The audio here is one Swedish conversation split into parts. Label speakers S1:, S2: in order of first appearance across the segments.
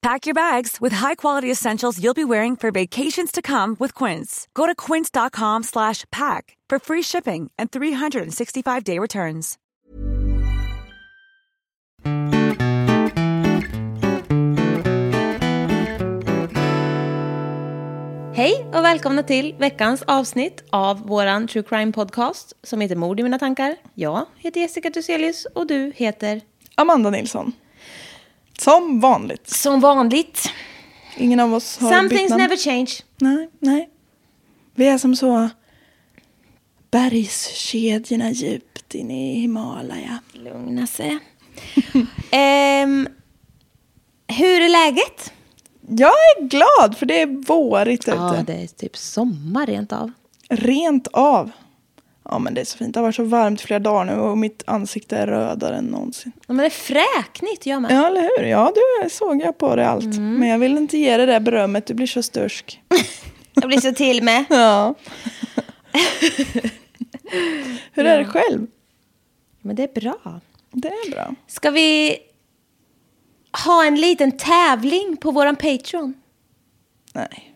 S1: Pack your bags with high-quality essentials you'll be wearing for vacations to come with Quince. Go to quince.com slash pack for free shipping and 365-day returns.
S2: Hej och välkomna till veckans avsnitt av våran true crime podcast som heter Mord i mina tankar. Jag heter Jessica Thyselius och du heter
S3: Amanda Nilsson. Som vanligt.
S2: som vanligt.
S3: Ingen av oss har
S2: Some
S3: bytt
S2: things
S3: namn.
S2: never change.
S3: Nej, nej. Vi är som så bergskedjorna djupt inne i Himalaya.
S2: Lugna sig. Ehm, hur är läget?
S3: Jag är glad för det är vårigt ute.
S2: det är typ sommar rent av.
S3: Rent av. Ja men det är så fint. Det har varit så varmt flera dagar nu och mitt ansikte är rödare än någonsin.
S2: Ja, men det är fräknigt, jag med.
S3: Ja eller hur? Ja du såg jag på det allt.
S2: Mm.
S3: Men jag vill inte ge dig det där berömmet, du blir så störsk.
S2: Jag blir så till med.
S3: Ja. Hur är det själv?
S2: Men det är bra.
S3: Det är bra.
S2: Ska vi ha en liten tävling på våran Patreon?
S3: Nej.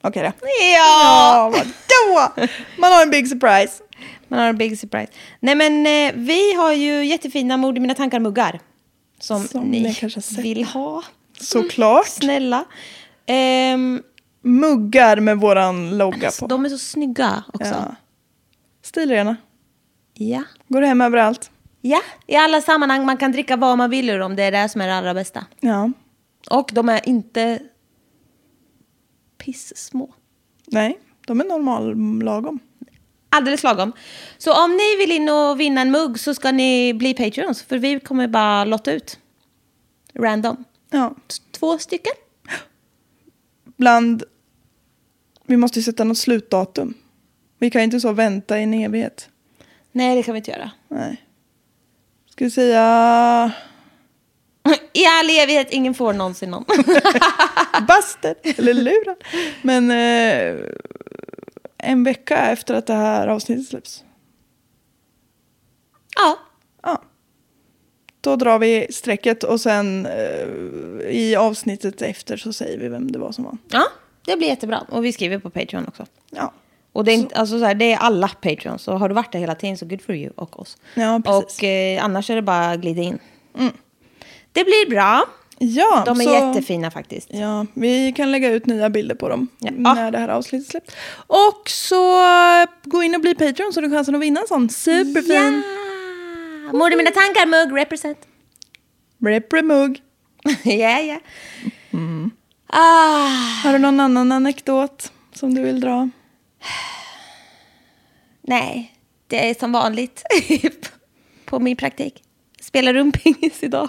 S3: Okej då.
S2: Ja!
S3: Ja, vadå? Man har en big surprise.
S2: Man har en big surprise. Nej men eh, vi har ju jättefina Mord i mina tankar-muggar. Som,
S3: Som
S2: ni
S3: ni kanske har sett.
S2: vill ha.
S3: Såklart.
S2: Snälla. Ehm,
S3: Muggar med våran logga på.
S2: Alltså, de är så snygga också.
S3: Ja. Stilrena.
S2: Ja.
S3: Går hem överallt.
S2: Ja, i alla sammanhang. Man kan dricka vad man vill ur dem. Det är det som är det allra bästa.
S3: Ja.
S2: Och de är inte pissmå.
S3: Nej, de är normal lagom.
S2: Alldeles lagom. Så om ni vill in och vinna en mugg så ska ni bli Patreons. För vi kommer bara lotta ut. Random.
S3: Ja.
S2: Två stycken.
S3: Bland... Vi måste ju sätta något slutdatum. Vi kan ju inte så vänta i en evighet.
S2: Nej, det kan vi inte göra.
S3: Nej. Ska vi säga...
S2: I all evighet, ingen får någonsin någon.
S3: Bastard! Eller lurad. Men eh, en vecka efter att det här avsnittet släpps.
S2: ja,
S3: Ja. Då drar vi strecket och sen eh, i avsnittet efter så säger vi vem det var som vann.
S2: ja, det blir jättebra. Och vi skriver på Patreon också.
S3: Ja.
S2: Och det är, inte, alltså så här, det är alla Patreons. Så har du varit där hela tiden så good for you och oss.
S3: Ja, precis.
S2: och eh, annars är det bara att glida in. Mm. Det blir bra.
S3: Ja,
S2: De är
S3: så-
S2: jättefina faktiskt.
S3: Ja, vi kan lägga ut nya bilder på dem
S2: Ja.
S3: när det här avsnittet släpps. Och så eh, gå in och bli Patreon så har du chansen att vinna en sån superfin
S2: Ja. Mord i mina tankar, mugg, represent.
S3: reprimugg.
S2: Ja, ja. Ah,
S3: Har du någon annan anekdot som du vill dra?
S2: nej, det är som vanligt på min praktik. Spelar rumpingis idag.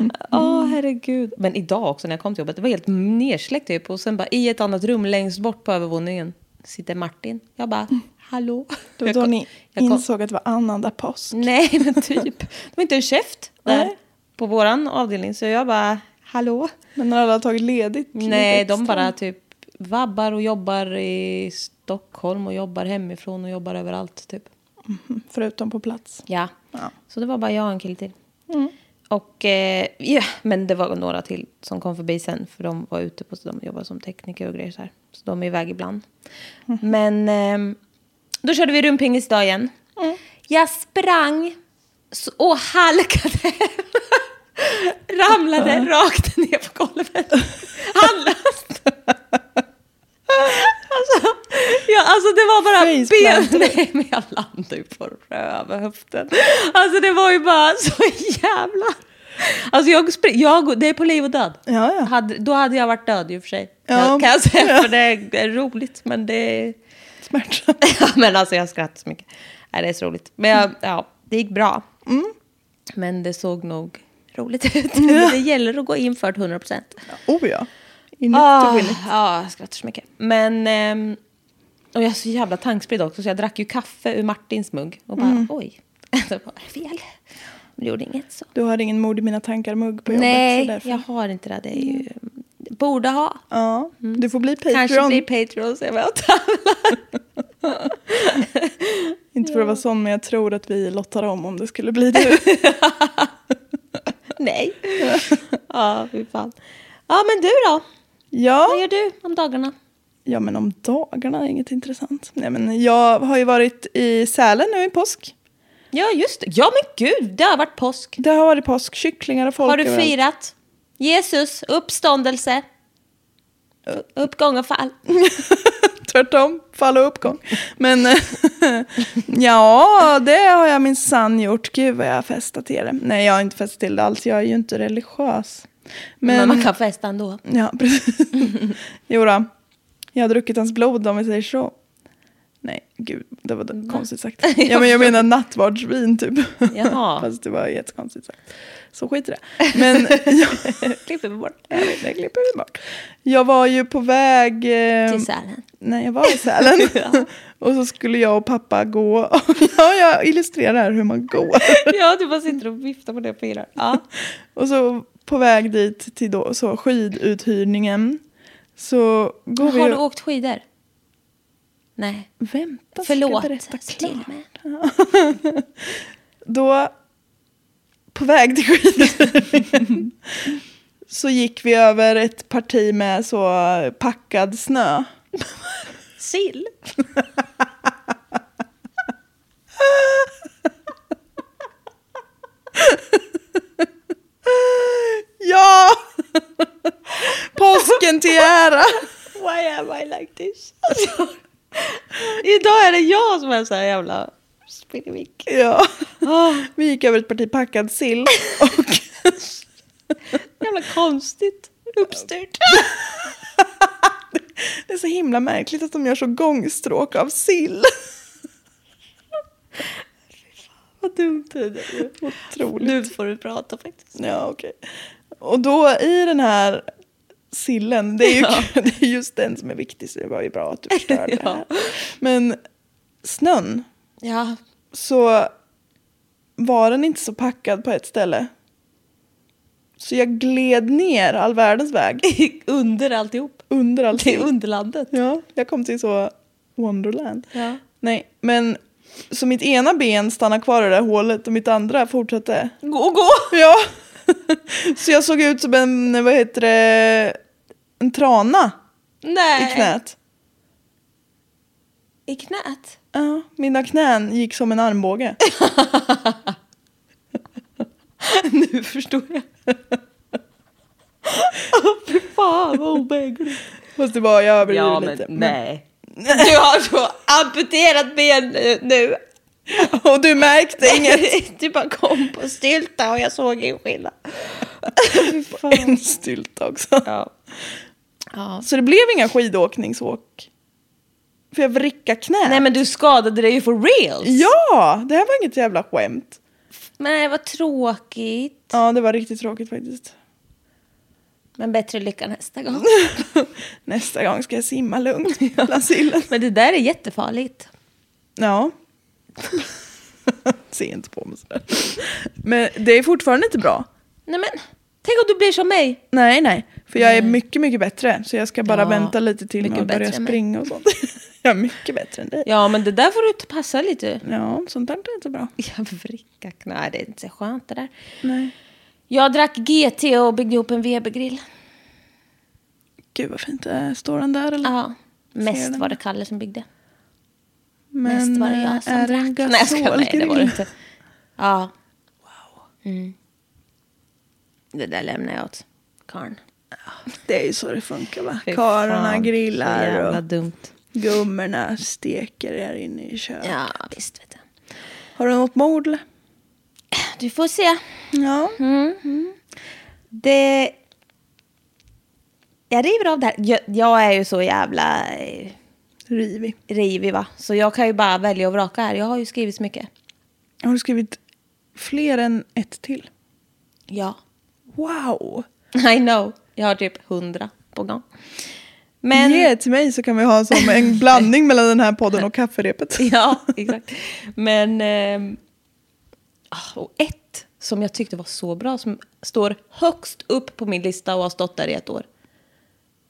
S2: Mm. Åh, herregud. Men idag också när jag kom till jobbet, det var helt nersläckt typ. Och sen bara i ett annat rum längst bort på övervåningen sitter Martin. Jag bara, hallå?
S3: Då,
S2: Jag
S3: då
S2: kom-
S3: ni
S2: jag kom-
S3: insåg att det var annandag påsk.
S2: Nej, men typ. Det var inte en käft där
S3: Nej.
S2: på våran avdelning. Så jag bara, hallå?
S3: Men när alla har tagit ledigt. lite
S2: Nej, de
S3: extra.
S2: bara typ vabbar och jobbar i Stockholm och jobbar hemifrån och jobbar överallt typ.
S3: Mm, Förutom på plats.
S2: Ja.
S3: Ja.
S2: Så det var bara jag och en kille till. Och, eh, ja, men det var några till som kom förbi sen, för de var ute på, så de jobbade som tekniker och grejer så här. Så de är iväg ibland. Men ehm, då körde vi rumpingis idag igen. Jag sprang så, och halkade. Ramlade rakt ner på golvet. Handlöst. Alltså, ja, alltså det var bara ben. Nej, men jag landade ju på rövhöften. Alltså det var ju bara så jävla... Alltså jag, spr- jag, det är på liv och död.
S3: Ja, ja.
S2: Hade, då hade jag varit död i och för sig.
S3: Ja.
S2: Kan jag säga, för det är, det är roligt men det är...
S3: Smärtsamt.
S2: Ja, men alltså jag skrattar så mycket. Nej, det är så roligt. Men jag, ja, det gick bra.
S3: Mm.
S2: Men det såg nog roligt ut. Men det gäller att gå in för 100 procent.
S3: Oh ja. In it to
S2: Ah, Ja,
S3: win it.
S2: jag skrattar så mycket. Men... ehm, och jag är så jävla tankspridd också, så jag drack ju kaffe ur Martins mugg. Och bara,
S3: Mm.
S2: oj. Det var fel. Men det gjorde inget så.
S3: Du har ingen mord i mina tankar-mugg på jobbet. så
S2: Nej,
S3: därför- Mm.
S2: jag har inte det. Det är ju... Borde ha.
S3: Ja, du får bli Patreon.
S2: Mm. Kanske blir Patreon, så jag bara
S3: Inte för att vara sån, men jag tror att vi lottar om om det skulle bli du.
S2: Nej. ja, fy fan. Ja, men du då? Vad
S3: ja.
S2: gör du om dagarna?
S3: ja, men om dagarna är inget intressant. Nej, men jag har ju varit i Sälen nu i påsk.
S2: Ja, just det. Ja, men gud, det har varit påsk.
S3: Det har varit påsk, kycklingar och folk
S2: Har du
S3: överallt.
S2: firat Jesus uppståndelse? Uppgång och fall.
S3: Tvärtom, fall och uppgång. Men eh, ja, det har jag min sann gjort. Gud vad jag har festat till det. Nej, jag har inte festat till det alls. Jag är ju inte religiös.
S2: Men, man kan festa ändå.
S3: Ja, precis. jo då. Jag har druckit hans blod om vi säger så. Nej, gud, det var
S2: Mm.
S3: det- konstigt sagt. Ja, men jag menar nattvardsvin typ.
S2: Jaha.
S3: Fast det var jättekonstigt sagt. Så skit i det. Men jag,
S2: Klipper vi bort.
S3: jag vet, det klipper vi bort. Jag var ju på väg... Eh,
S2: Till Sälen.
S3: när jag var i Sälen. och så skulle jag och pappa gå. ja, jag illustrerar hur man går.
S2: Ja, du bara sitter och viftar på det och firar. Ja.
S3: Och så på väg dit till då, så skiduthyrningen. Så går vi
S2: Har du
S3: och-
S2: åkt skidor? Nej.
S3: Vänta,
S2: Förlåt,
S3: ska jag berätta
S2: säg till
S3: klart.
S2: mig.
S3: Då, på väg till skidor så gick vi över ett parti med så packad snö.
S2: Sill?
S3: Ja! Påsken till ära!
S2: Why am I like this? Alltså, Idag är det jag som är så här jävla spinnevick.
S3: Ja. Vi gick över ett parti packad sill.
S2: Jävla konstigt. Uppstyrt.
S3: Det är så himla märkligt att de gör så gångstråk av sill.
S2: Vad dumt det är.
S3: Otroligt.
S2: Nu får du prata faktiskt.
S3: Ja, okej. Och då i den här sillen, det är ju det är just den som är viktig så det var ju bra att du förstörde det här. Men snön,
S2: Ja,
S3: så var den inte så packad på ett ställe. Så jag gled ner all världens väg
S2: under alltihop.
S3: under
S2: Till
S3: allting.
S2: underlandet.
S3: Ja, jag kom till så Wonderland.
S2: Ja.
S3: Nej, men så mitt ena ben stannade kvar i det där hålet och mitt andra fortsatte.
S2: Gå, gå!
S3: Ja, så jag såg ut som en, vad heter det, en trana
S2: Nej.
S3: i knät.
S2: I knät?
S3: Ja, mina knän gick som en armbåge.
S2: Nu förstår jag. Åh, Fy fan vad obehagligt.
S3: Fast det var, jag överdrev
S2: Ja, men
S3: lite. Men-
S2: nej. Du har så amputerat ben nu- nu.
S3: Och du märkte inget.
S2: Du bara kom på stylta och jag såg ingen skillnad. Fy fan.
S3: En stylta också.
S2: Ja. ja.
S3: Så det blev inga skidåkningsåk. För jag vrickade knät.
S2: Nej men du skadade dig ju for reals.
S3: Ja, det här var inget jävla skämt.
S2: Men vad tråkigt.
S3: Ja, det var riktigt tråkigt faktiskt.
S2: Men bättre lycka nästa gång.
S3: Nästa gång ska jag simma lugnt bland sillen.
S2: Men det där är jättefarligt.
S3: Ja. Se inte på mig sådär. Men det är fortfarande inte bra.
S2: Nej men, tänk om du blir som mig.
S3: Nej, nej. För jag är mycket, mycket bättre. Så jag ska bara
S2: Ja,
S3: vänta lite till med
S2: mycket
S3: att börja
S2: bättre än mig.
S3: springa och sånt. jag är mycket bättre än dig.
S2: Ja, men det där får du ta- passa lite.
S3: Ja, sånt där är inte bra.
S2: Jag vricka knä. Nej, det är inte så skönt det där.
S3: Nej.
S2: Jag drack GT och byggde ihop en Webergrill.
S3: Gud vad fint det är. Står han där eller?
S2: Ja,
S3: Ser
S2: mest
S3: den.
S2: var det Kalle som byggde.
S3: Men
S2: mest var det
S3: eh,
S2: jag som
S3: är det en
S2: drack. Nej, jag skojar. Nej, det var det
S3: gasolgrill?
S2: inte. Ja. Wow. Mm. Det där lämnar jag åt karln.
S3: Det är ju så det funkar va?
S2: Fy
S3: Karlarna
S2: fan, Så
S3: grillar
S2: jävla
S3: och
S2: dumt.
S3: gummorna steker här inne i köket.
S2: Ja, visst vet jag.
S3: Har du något mord eller?
S2: Du får se.
S3: Ja.
S2: Det... Jag river av det här. Jag, jag är ju så jävla eh,
S3: Rivig.
S2: rivig va. Så jag kan ju bara välja och vraka här. Jag har ju skrivit så mycket.
S3: Har du skrivit fler än ett till?
S2: Ja.
S3: Wow!
S2: I know. Jag har typ hundra på gång. Men...
S3: Ge till mig så kan vi ha som en blandning mellan den här podden och kafferepet.
S2: Ja, exakt. Men... ehm, ah, och ett som jag tyckte var så bra som står högst upp på min lista och har stått där i ett år.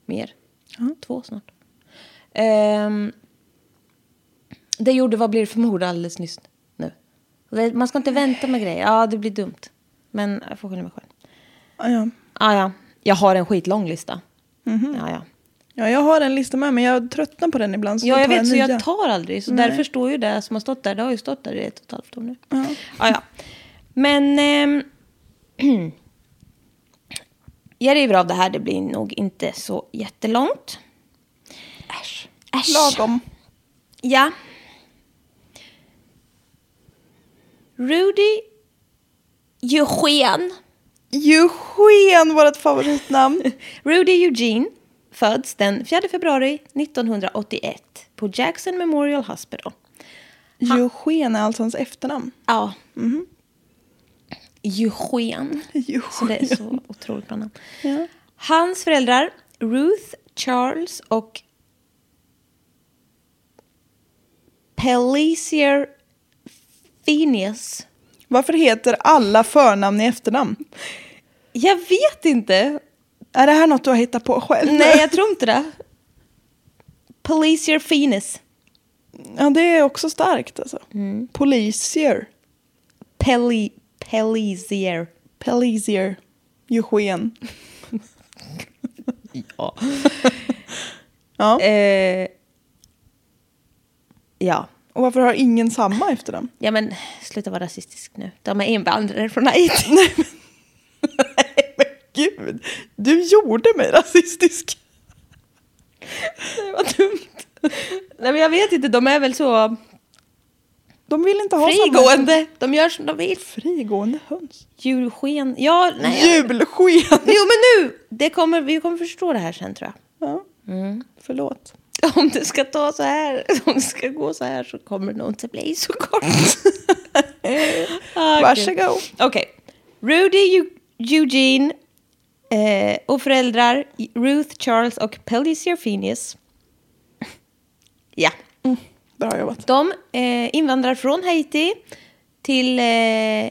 S2: Mer. Två snart. Ehm, det gjorde Vad blir det för mord alldeles nyss nu. Och Det, man ska inte vänta med grejer. Ja, det blir dumt. Men jag får skylla mig själv.
S3: Ja, ja.
S2: Ah, ja. Jag har en skitlång lista. Ja, ja.
S3: ja, jag har en lista med men jag tröttnar på den ibland. Så
S2: Ja,
S3: då
S2: jag
S3: tar
S2: vet, så
S3: nya.
S2: jag tar aldrig. Så därför står ju det som har stått där, det har ju stått där i ett och ett halvt år nu. Ja. Ja, Men... ehm, jag river av det här, det blir nog inte så jättelångt. Äsch. Äsch.
S3: Lagom.
S2: Ja. Rudy Eugen.
S3: Eugen, vårt favoritnamn.
S2: Rudy Eugene föds den 4 februari 1981 på Jackson Memorial Hospital.
S3: Eugen är alltså hans efternamn.
S2: Ja. Eugen.
S3: Eugen.
S2: Så det är så otroligt bra namn.
S3: Ja.
S2: Hans föräldrar, Ruth Charles och Pelissier Phineas.
S3: Varför heter alla förnamn i efternamn?
S2: Jag vet inte.
S3: Är det här något du har hittat på själv?
S2: Nej, jag tror inte det. Pelissier Phineas.
S3: Ja, det är också starkt alltså.
S2: Mm.
S3: Polisier.
S2: Peli, Pelissier.
S3: Polisier. Eugen.
S2: Ja.
S3: Ja.
S2: Eh, ja.
S3: Och varför har ingen samma efternamn?
S2: Ja men sluta vara rasistisk nu. De är invandrare från Haiti.
S3: Nej men gud, du gjorde mig rasistisk.
S2: Det var dumt. Nej men jag vet inte, de är väl så
S3: De vill inte ha samma...
S2: frigående. De gör som de vill.
S3: Frigående höns.
S2: Julsken. Ja, nej. jag-
S3: Julsken.
S2: Jo men nu! Det kommer, vi kommer förstå det här sen tror jag.
S3: Ja.
S2: Mm.
S3: Förlåt.
S2: Om det ska ta så här, om det ska gå så här så kommer det nog inte bli så kort. Ah, gud.
S3: Varsågod.
S2: Okej. Rudy, Eu- Eugene eh, och föräldrar Ruth, Charles och Pelissier Phineas. Ja.
S3: Bra jobbat.
S2: De eh, invandrar från Haiti till eh,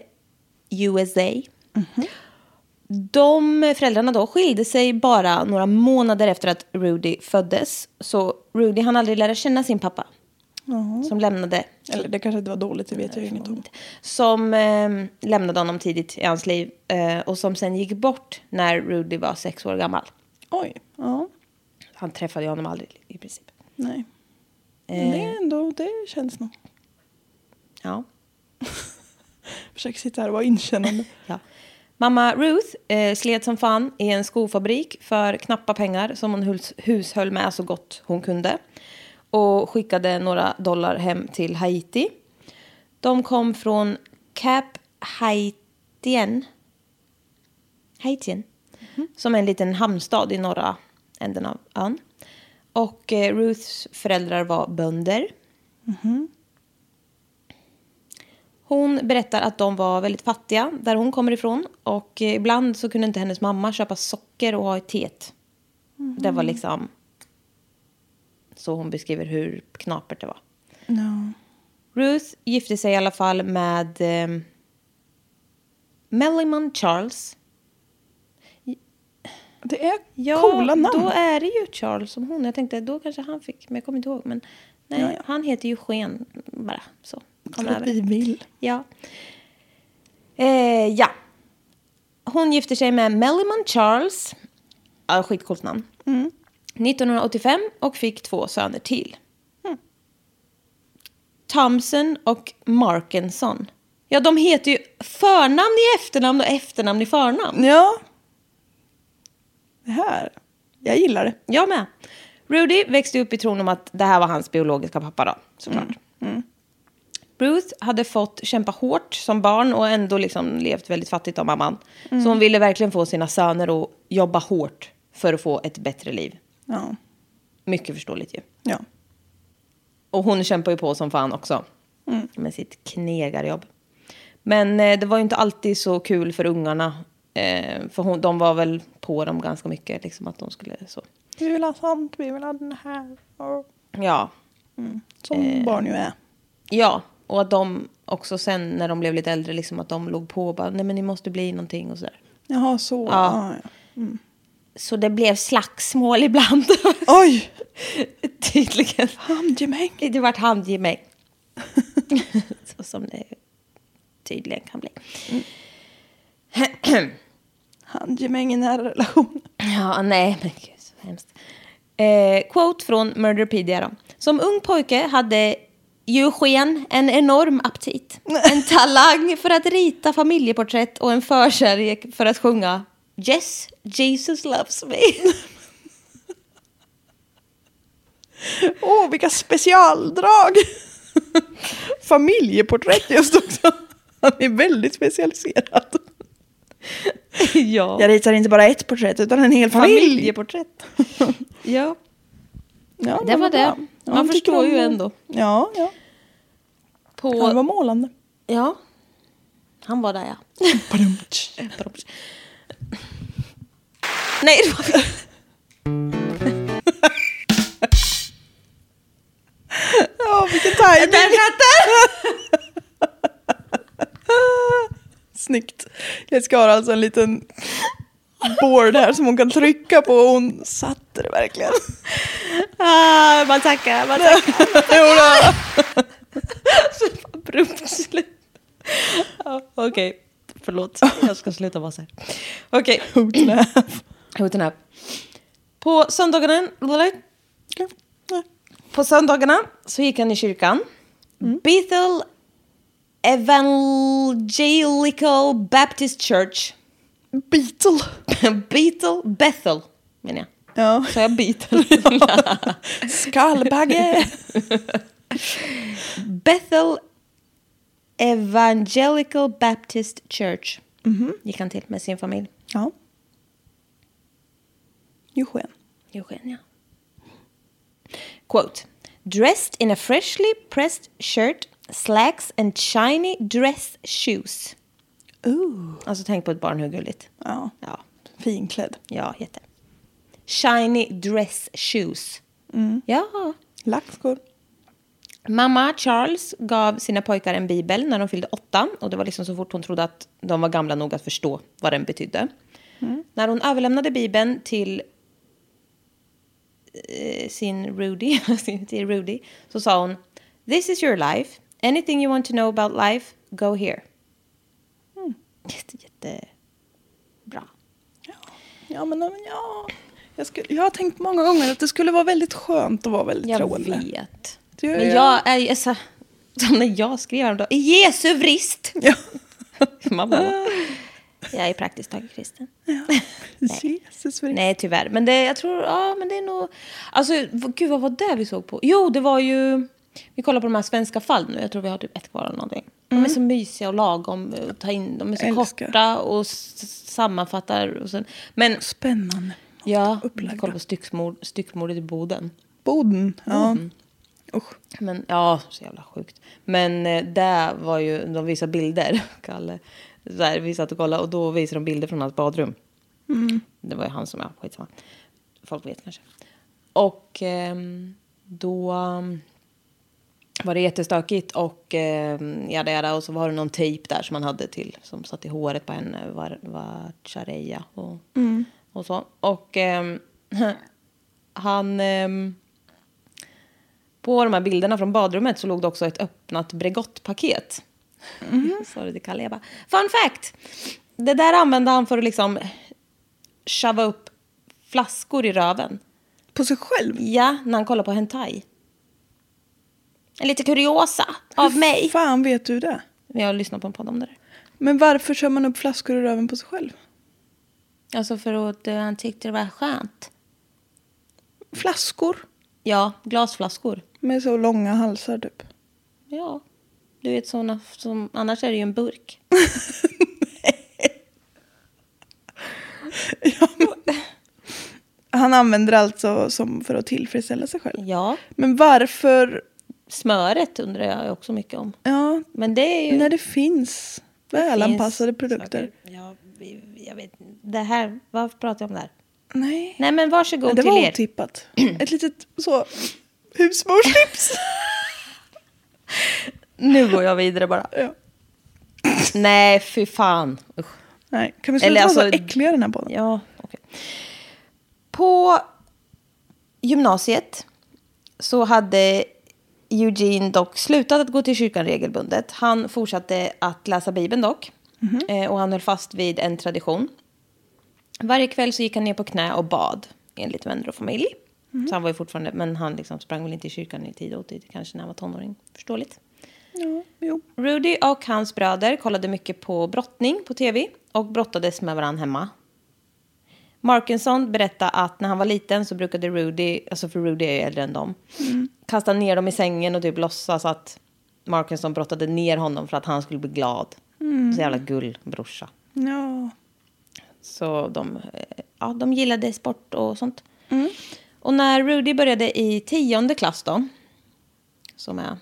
S2: USA. De föräldrarna då skilde sig bara några månader efter att Rudy föddes. Så Rudy hann aldrig lära känna sin pappa. Som lämnade
S3: Eller det kanske inte var dåligt, det vet jag ju inget om.
S2: som eh, lämnade honom tidigt i hans liv eh, och som sen gick bort när Rudy var sex år gammal.
S3: Oj. Ja.
S2: Han träffade ju honom aldrig i princip.
S3: Nej.
S2: Eh,
S3: Men det är ändå, det känns nog.
S2: ja.
S3: Försök sitta här och vara inkännande.
S2: Ja. Mamma Ruth eh, slet som fan i en skofabrik för knappa pengar som hon hus- hushöll med så gott hon kunde. Och skickade några dollar hem till Haiti. De kom från Cap Haitien. Haitien. Som är en liten hamnstad i norra änden av ön. Och eh, Ruths föräldrar var bönder. Hon berättar att de var väldigt fattiga där hon kommer ifrån och eh, ibland så kunde inte hennes mamma köpa socker och ha i teet. Det var liksom så hon beskriver hur knapert det var.
S3: No.
S2: Ruth gifte sig i alla fall med eh, Mellyman Charles.
S3: Det är coola namn.
S2: då är det ju Charles som hon. Jag tänkte då kanske han fick, men jag kommer inte ihåg. Men nej,
S3: Ja, ja.
S2: han heter ju Sken bara. Så. Kom
S3: För att vi vill.
S2: Ja. Eh, ja. Hon gifter sig med Mellyman Charles. Ja, skitcoolt namn. 1985 och fick två söner till. Thompson och Markenson. Ja, de heter ju förnamn i efternamn och efternamn i förnamn.
S3: Ja. Det här. Jag gillar det.
S2: Jag med. Rudy växte upp i tron om att det här var hans biologiska pappa då, såklart. Ruth hade fått kämpa hårt som barn och ändå liksom levt väldigt fattigt av mamman. Så hon ville verkligen få sina söner att jobba hårt för att få ett bättre liv.
S3: Ja.
S2: Mycket förståeligt ju.
S3: Ja.
S2: Och hon kämpar ju på som fan också. Med sitt knegarjobb. Men eh, det var ju inte alltid så kul för ungarna. Eh, för hon, de var väl på dem ganska mycket. Liksom att de skulle så.
S3: Vi vill ha sånt, vi vill ha den här. Och-
S2: Ja,
S3: Som barn ju är.
S2: Ja, och att de också sen när de blev lite äldre, liksom att de låg på och bara, nej men ni måste bli någonting och sådär.
S3: Jaha, så.
S2: Ja.
S3: Ja. ja.
S2: Så det blev slagsmål ibland.
S3: Oj!
S2: Tydligen.
S3: Handgemäng.
S2: Det vart handgemäng. Så som det tydligen kan bli.
S3: Handgemäng i nära relation.
S2: Ja, nej, men gud så hemskt. Eh, quote från Murderpedia då. Som ung pojke hade Eugen en enorm aptit. En talang för att rita familjeporträtt och en förkärlek för att sjunga Yes, Jesus loves me.
S3: Åh, vilka specialdrag! Familjeporträtt just också. Han är väldigt specialiserad.
S2: ja.
S3: Jag ritar inte bara ett porträtt utan en hel familj.
S2: Familjeporträtt. ja.
S3: Ja,
S2: Det var det.
S3: bra.
S2: Man
S3: jag tycker
S2: förstår
S3: om
S2: ju
S3: det.
S2: ändå.
S3: Ja, ja.
S2: På...
S3: Han var målande.
S2: Ja. Han var där, ja. Nej, det var fel.
S3: Ja, vilken tajming!
S2: Där satt
S3: Snyggt. Jessica har alltså en liten board här som hon kan trycka på och hon satte det verkligen.
S2: Ah, man tackar, man tackar. Jodå. Abrupt slut. Ja, Okej, förlåt. Jag ska sluta vara så här. Okej. Hot and up. På söndagarna, på söndagarna så gick han i kyrkan. Bethel Evangelical Baptist Church.
S3: Beetle.
S2: Bethel, Bethel menar jag.
S3: Ja.
S2: Sa jag Bethel?
S3: Skallbagge.
S2: Bethel Evangelical Baptist Church gick han till med sin familj.
S3: Ja. Eugen.
S2: Eugenia. Quote. Dressed in a freshly pressed shirt, slacks and shiny dress shoes.
S3: Ooh.
S2: Alltså tänk på ett barn hur gulligt.
S3: Ja.
S2: Ja,
S3: Finklädd.
S2: ja jätte. Shiny dress shoes. Ja.
S3: Laxgård.
S2: Mamma Charles gav sina pojkar en bibel när de fyllde åtta. Och det var liksom så fort hon trodde att de var gamla nog att förstå vad den betydde. När hon överlämnade bibeln till eh, sin Rudy, sin- till Rudy så sa hon This is your life. Anything you want to know about life, go here. Jätte, jätte bra.
S3: Ja, men, men ja. Jag, skulle, jag har tänkt många gånger att det skulle vara väldigt skönt att vara väldigt
S2: Jag
S3: troende.
S2: vet.
S3: Det gör
S2: Men
S3: jag.
S2: jag är ju så... Som när jag skrev häromdagen. I Jesu vrist!
S3: Ja.
S2: Mamma. Jag är praktiskt taget kristen.
S3: Jesus, vad det-
S2: Nej, tyvärr. Men det, jag tror, ja, men det är nog... Alltså, v- gud, vad var det vi såg på? Jo, det var ju... Vi kollar på de här svenska fall nu. Jag tror vi har typ ett kvar eller någonting. De är så mysiga och lagom eh, att ta in. De är så
S3: Mm. Älskar.
S2: korta och s- sammanfattar. Och sen, men
S3: Spännande.
S2: ja, vi
S3: upplagda.
S2: kollar på styckmord, styckmordet i Boden.
S3: Boden. Ja. Usch.
S2: Men, ja, så jävla sjukt. Men eh, där var ju, de visade bilder, Kalle. Så här, vi satt och kollade och då visade de bilder från hans badrum. Det var ju han som, ja skitsamma. Folk vet kanske. Och ehm, då ehm, var det jättestökigt och ehm, jada jada och så var det någon tejp där som han hade till som satt i håret på henne, var, var chareja och och så. Och ehm, han... ehm, på de här bilderna från badrummet så låg det också ett öppnat Bregottpaket. Sorry, det kallar jag bara. Fun fact! Det där använde han för att liksom shava upp flaskor i röven.
S3: På sig själv?
S2: Ja, när han kollar på hentai. En lite kuriosa av
S3: Hur
S2: mig.
S3: fan vet du det?
S2: Men jag lyssnar på en podd om det där.
S3: Men varför kör man upp flaskor i röven på sig själv?
S2: Alltså för att eh, han tyckte det var skönt.
S3: Flaskor
S2: Ja, glasflaskor.
S3: med så långa halsar typ.
S2: Ja, du vet såna som... Annars är det ju en burk.
S3: Han använder alltså som för att tillfredsställa sig själv.
S2: Ja,
S3: Men varför?
S2: smöret undrar jag också mycket om.
S3: Ja,
S2: Men det är ju...
S3: när det finns välanpassade
S2: finns
S3: produkter.
S2: saker. Ja, vi- jag vet Det här, varför pratar jag om det här?
S3: Nej.
S2: Nej men varsågod
S3: Men det
S2: till
S3: var
S2: er.
S3: otippat. Ett litet så husmorstips.
S2: Nu går jag vidare bara.
S3: ja.
S2: Nej, fy fan. Usch.
S3: Nej, kan vi
S2: Eller
S3: sluta vara så
S2: alltså-
S3: äckliga i den här podden?
S2: Ja, okej. På gymnasiet så hade Eugene dock slutat att gå till kyrkan regelbundet. Han fortsatte att läsa Bibeln dock.
S3: Mhm.
S2: Eh, Och han höll fast vid en tradition. Varje kväll så gick han ner på knä och bad, enligt vänner och familj.
S3: Mhm.
S2: Så han var ju fortfarande, men han liksom sprang väl inte i kyrkan i tid och otid, kanske när han var tonåring. Förståeligt.
S3: Ja, jo.
S2: Rudy och hans bröder kollade mycket på brottning på tv och brottades med varandra hemma. Markinson berättade att när han var liten så brukade Rudy, alltså för Rudy är ju äldre än dem, kasta ner dem i sängen och typ låtsas att Markinson brottade ner honom för att han skulle bli glad. Så jävla gullbrorsa.
S3: Ja.
S2: Så de, eh, ja, de gillade sport och sånt. Och när Rudy började i tionde klass då, som är...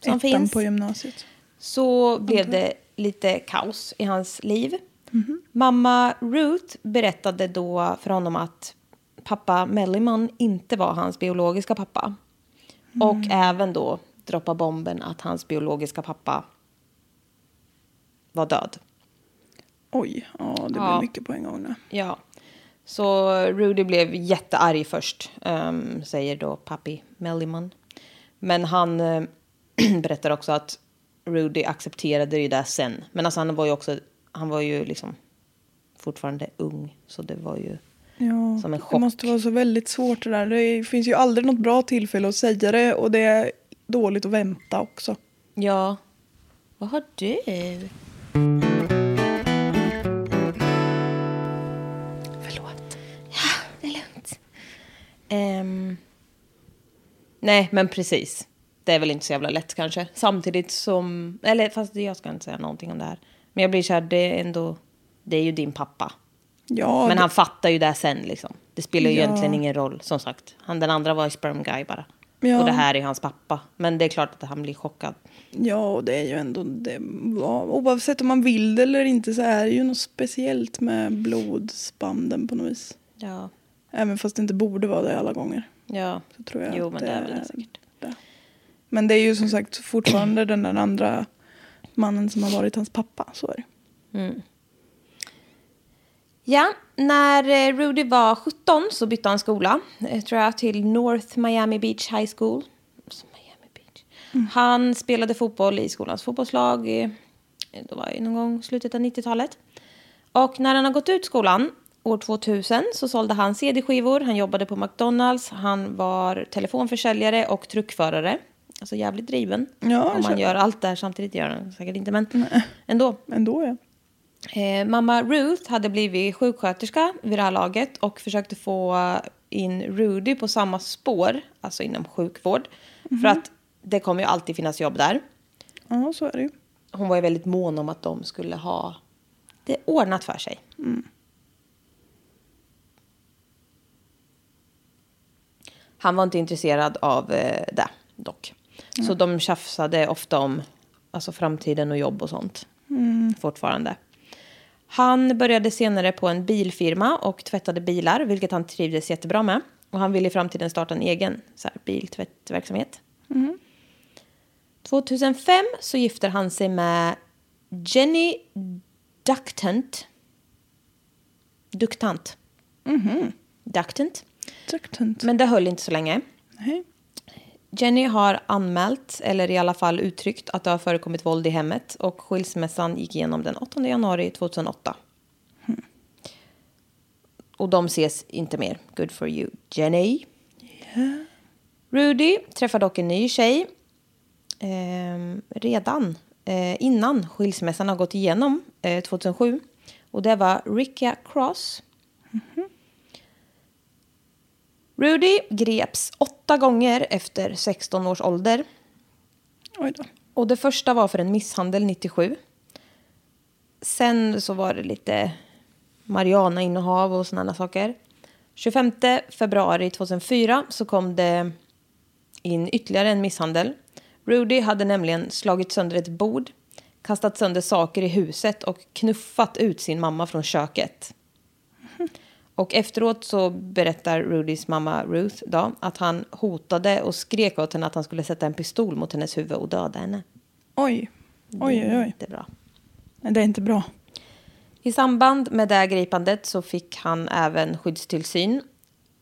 S2: Som
S3: Ettan
S2: finns
S3: på gymnasiet.
S2: så blev det lite kaos i hans liv. Mamma Ruth berättade då för honom att pappa Melliman inte var hans biologiska pappa. Och även då droppa bomben att hans biologiska pappa var död.
S3: Oj, ja det blir
S2: Ja.
S3: mycket på en gång nu.
S2: Ja. Så Rudy blev jättearg först, ehm, säger då pappi Melliman. Men han eh, berättar också att Rudy accepterade det där sen. Men alltså han var ju också, han var ju liksom fortfarande ung. Så det var ju
S3: Ja,
S2: som en
S3: Det
S2: chock.
S3: måste vara så väldigt svårt det där. Det finns ju aldrig något bra tillfälle att säga det och det är dåligt att vänta också.
S2: Ja. Vad har du? Förlåt. Ja, det är lugnt. Ehm, nej, men precis. Det är väl inte så jävla lätt kanske. Samtidigt som... Eller fast jag ska inte säga någonting om det här. Men jag blir så här, det är ändå... Det är ju din pappa.
S3: Ja,
S2: men
S3: det-
S2: han fattar ju det sen liksom. Det spelar ju
S3: Ja.
S2: egentligen ingen roll, som sagt. Han, den andra var sperm guy bara.
S3: Ja.
S2: Och det här är hans pappa. Men det är klart att han blir chockad.
S3: ja och det är ju ändå... Det, ja, oavsett om man vill det eller inte så är det ju något speciellt med blodsbanden på något vis.
S2: Ja.
S3: Även fast det inte borde vara det alla gånger.
S2: Ja.
S3: Så tror jag
S2: jo,
S3: att
S2: men det är väl det säkert.
S3: det. Men det är ju som sagt fortfarande den där andra mannen som har varit hans pappa. Så är det.
S2: Ja, när eh, Rudy var 17 så bytte han skola, eh, tror jag, till North Miami Beach High School. Så Miami Beach. Han spelade fotboll i skolans fotbollslag, eh, då var det någon gång slutet av 90-talet. Och när han har gått ut skolan, år 2000, så sålde han CD-skivor, han jobbade på McDonalds, han var telefonförsäljare och truckförare. Alltså jävligt driven.
S3: Ja,
S2: Om man
S3: kör.
S2: gör allt det här samtidigt gör han säkert inte, men ändå.
S3: Ändå ja.
S2: Eh, mamma Ruth hade blivit sjuksköterska vid det här laget och försökte få in Rudy på samma spår, alltså inom sjukvård. För att det kommer ju alltid finnas jobb där.
S3: Ja, så är det ju.
S2: Hon var ju väldigt mån om att de skulle ha det ordnat för sig. Han var inte intresserad av eh, det dock. Så de tjafsade ofta om alltså, framtiden och jobb och sånt. Fortfarande. Han började senare på en bilfirma och tvättade bilar, vilket han trivdes jättebra med. Och han ville i framtiden starta en egen så här, biltvättverksamhet. 2005 så gifter han sig med Jenny Ductant. Duktant. Ductant.
S3: Ductant.
S2: Men det höll inte så länge.
S3: Nej.
S2: Jenny har anmält, eller i alla fall uttryckt, att det har förekommit våld i hemmet och skilsmässan gick igenom den 8 januari 2008. Och de ses inte mer. Good for you, Jenny. Rudy träffar dock en ny tjej ehm, redan eh, innan skilsmässan har gått igenom eh, 2007. Och det var Ricka Cross. Rudy greps åtta gånger efter 16 års ålder.
S3: Oj då.
S2: Och det första var för en misshandel 97. Sen så var det lite marijuanainnehav och sådana saker. 25 februari 2004 så kom det in ytterligare en misshandel. Rudy hade nämligen slagit sönder ett bord, kastat sönder saker i huset och knuffat ut sin mamma från köket. Och efteråt så berättar Rudys mamma Ruth då, att han hotade och skrek åt henne att han skulle sätta en pistol mot hennes huvud och döda henne.
S3: Oj. Oj, oj, oj.
S2: Det är bra.
S3: Nej, Det är inte bra.
S2: I samband med det här gripandet så fick han även skyddstillsyn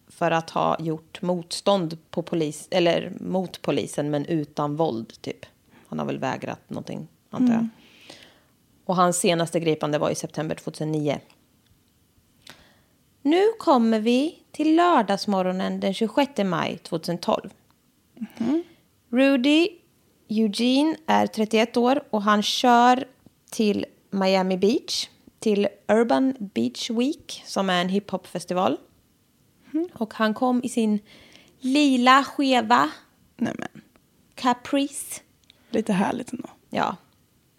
S2: för att ha gjort motstånd på polis, eller mot polisen men utan våld. typ. Han har väl vägrat någonting, antar jag. Och hans senaste gripande var i september 2009. Nu kommer vi till lördagsmorgonen den 26 maj 2012. Rudy Eugene är 31 år och han kör till Miami Beach till Urban Beach Week som är en hiphopfestival. Och han kom i sin lila skeva
S3: Nej men.
S2: Caprice.
S3: Lite härligt ändå.
S2: Ja,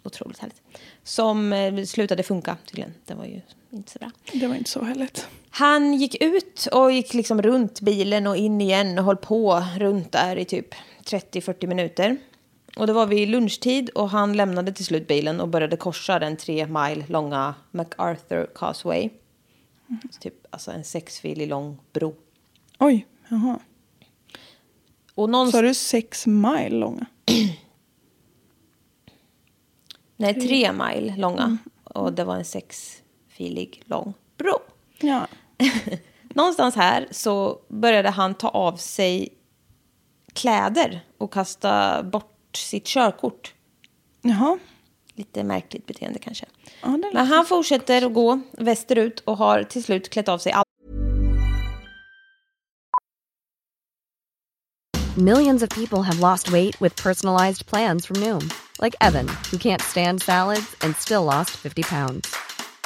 S2: otroligt härligt. Som eh, slutade funka tydligen. Den var ju inte så bra.
S3: Det var inte så härligt.
S2: Han gick ut och gick liksom runt bilen och in igen och höll på runt där i typ 30-40 minuter. Och det var vid lunchtid och han lämnade till slut bilen och började korsa den tre mile långa MacArthur Causeway.
S3: Mm-hmm.
S2: Så Typ alltså en sexfilig lång bro.
S3: Oj, jaha.
S2: Och någon...
S3: Sa du sex mile långa?
S2: Nej, tre mile långa.
S3: Mm-hmm.
S2: Och det var en sexfilig lång bro.
S3: Ja.
S2: Någonstans här så började han ta av sig kläder och kasta bort sitt körkort.
S3: Jaha.
S2: Lite märkligt beteende kanske.
S3: Ja, det låter
S2: Men han fortsätter att gå västerut och har till slut klätt av sig allt.
S4: Millions of people have lost weight with personalized plans from Noom, like Evan, who can't stand salads and still lost 50 pounds.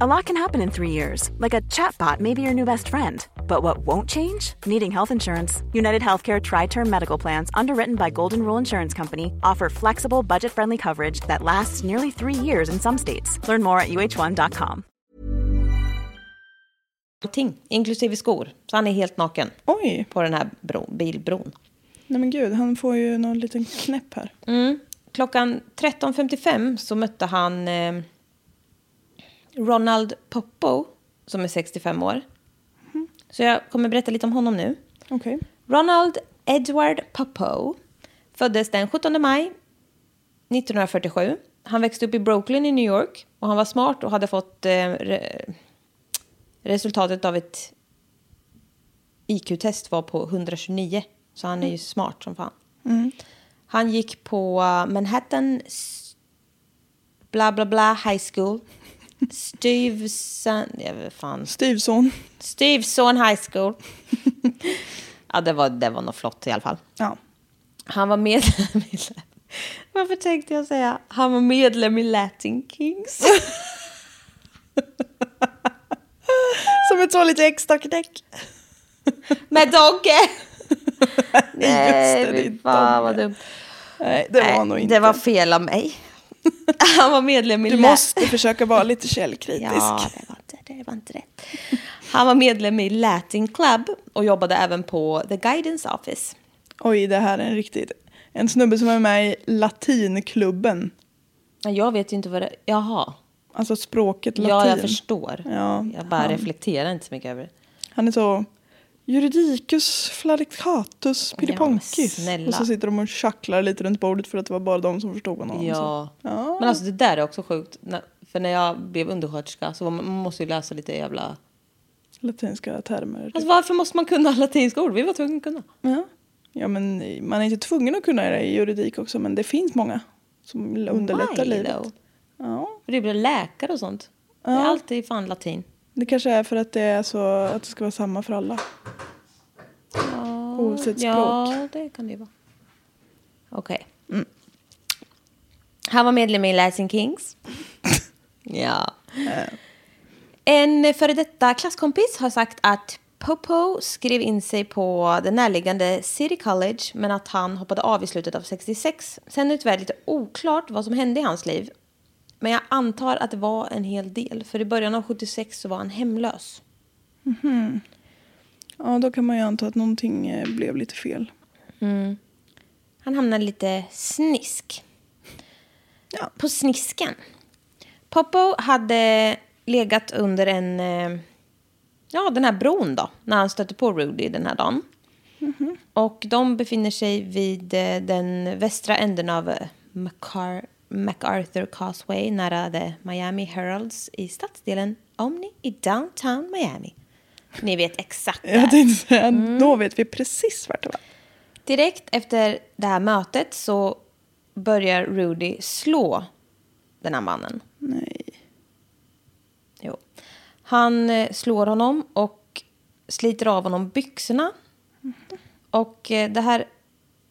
S5: A lot can happen in three years, like a chatbot may be your new best friend. But what won't change? Needing health insurance. United Healthcare Tri Term Medical Plans, underwritten by Golden Rule Insurance Company, offer flexible, budget friendly coverage that lasts nearly three years in some states. Learn more at uh1.com.
S2: Allting, inklusive skor. Så han är helt naken
S3: Oj.
S2: på den här bro, bilbron.
S3: Nej men gud, han får ju någon liten knäpp här.
S2: Mm. Klockan 13.55 så mötte han eh, Ronald Poppo, som är 65 år. Så jag kommer berätta lite om honom nu.
S3: Okej.
S2: Ronald Edward Poppo föddes den 17 maj 1947. Han växte upp i Brooklyn i New York och han var smart och hade fått eh, re- resultatet av ett IQ-test var på 129. Så han är ju smart som fan. Han gick på eh, Manhattan s- bla bla bla high school. Stuyvesant... Jag vet fan.
S3: Styvson.
S2: Styvson High School. ja, det var, det var något flott i alla fall.
S3: Ja.
S2: Han var medlem i... Varför tänkte jag säga? Han var medlem i Latin Kings.
S3: Som ett så lite extra knäck.
S2: Med Dogge!
S3: Nej, just det, det är
S2: fy fan vad
S3: Dogge.
S2: dumt.
S3: Nej, det var
S2: Nej,
S3: nog inte.
S2: Det var fel av mig. Han var medlem i
S3: Du
S2: Lat-
S3: måste försöka vara lite källkritisk.
S2: Ja, det var inte, det var inte rätt. Han var medlem i Latin Club och jobbade även på The Guidance Office.
S3: Oj, det här är en riktigt En snubbe som är med i latinklubben.
S2: Nej, Jag vet ju inte vad det... Jaha.
S3: Alltså språket latin.
S2: Ja, jag förstår.
S3: Ja,
S2: jag bara
S3: han-
S2: reflekterar inte så mycket över det.
S3: Han är så... Juridicus flarikatus piriponkis.
S2: Ja, men snälla.
S3: och så sitter de och tjacklar lite runt bordet för att det var bara de som förstod honom.
S2: Ja.
S3: Så. ja.
S2: Men alltså det där är också sjukt. När- För när jag blev undersköterska så var man man måste ju läsa lite jävla...
S3: Latinska termer. typ.
S2: Alltså varför måste man kunna latinska ord? Vi var tvungna att kunna.
S3: Ja. ja, men man är inte tvungen att kunna det i juridik också, men det finns många som underlättar
S2: Why,
S3: livet.
S2: though?
S3: Ja.
S2: För det blir läkare och sånt. Det är alltid fan latin.
S3: Det kanske är för att det är så att det ska vara samma för alla. Oavsett språk.
S2: Ja, det kan det ju vara. Okej. Mm. Han var medlem i Latin Kings. ja. En före detta klasskompis har sagt att Popo skrev in sig på det närliggande City College men att han hoppade av i slutet av 66. Sen är det tyvärr lite oklart vad som hände i hans liv. Men jag antar att det var en hel del, för i början av 76 så var han hemlös.
S3: Ja, då kan man ju anta att någonting eh, blev lite fel.
S2: Han hamnade lite snisk.
S3: Ja.
S2: På snisken. Popo hade legat under en... eh, Ja, den här bron då. När han stötte på Rudy den här dagen. Och de befinner sig vid eh, den västra änden av eh, Macar- MacArthur Causeway nära The Miami Heralds i stadsdelen Omni i downtown Miami. Ni vet exakt där.
S3: Jag tänkte säga,
S2: Mm.
S3: då vet vi precis vart det var.
S2: Direkt efter det här mötet så börjar Rudy slå den här mannen.
S3: Nej.
S2: Jo. Han eh, slår honom och sliter av honom byxorna.
S3: Mhm.
S2: Och eh, det här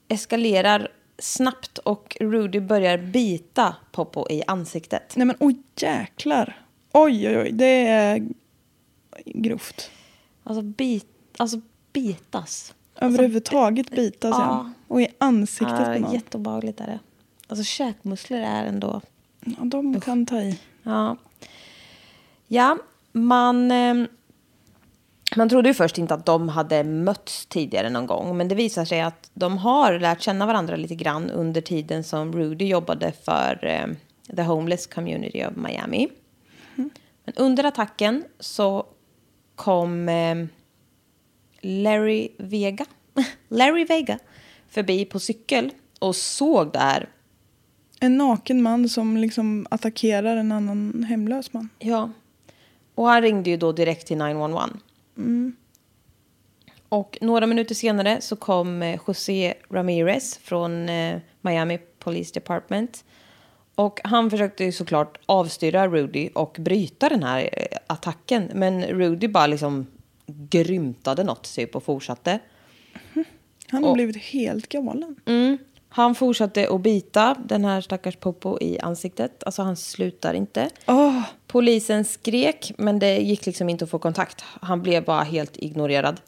S2: eskalerar snabbt och Rudy börjar bita Popo i ansiktet.
S3: Nej men oj jäklar. Oj oj oj, det är grovt.
S2: Alltså, bit, alltså bitas.
S3: Överhuvudtaget bitas
S2: ja.
S3: han. Och i ansiktet på
S2: Ja,
S3: någon.
S2: Ah, jätteobehagligt är det. Alltså käkmuskler är ändå...
S3: Ja, de kan ta i.
S2: Ja. Ja, man... eh, Man trodde ju först inte att de hade mötts tidigare någon gång, men det visar sig att de har lärt känna varandra lite grann under tiden som Rudy jobbade för eh, The Homeless Community of Miami. Men under attacken så kom eh, Larry Vega, Larry Vega förbi på cykel och såg det här
S3: En naken man som liksom attackerar en annan hemlös man.
S2: Ja. Och han ringde ju då direkt till 911. Och några minuter senare så kom eh, José Ramirez från eh, Miami Police Department. Och han försökte ju såklart avstyra Rudy och bryta den här eh, attacken. Men Rudy bara liksom grymtade något typ och fortsatte.
S3: Han har
S2: Och-
S3: blivit helt galen.
S2: Mm. Han fortsatte att bita den här stackars Popo i ansiktet. Alltså han slutar inte.
S3: Åh.
S2: Polisen skrek, men det gick liksom inte att få kontakt. Han blev bara helt ignorerad.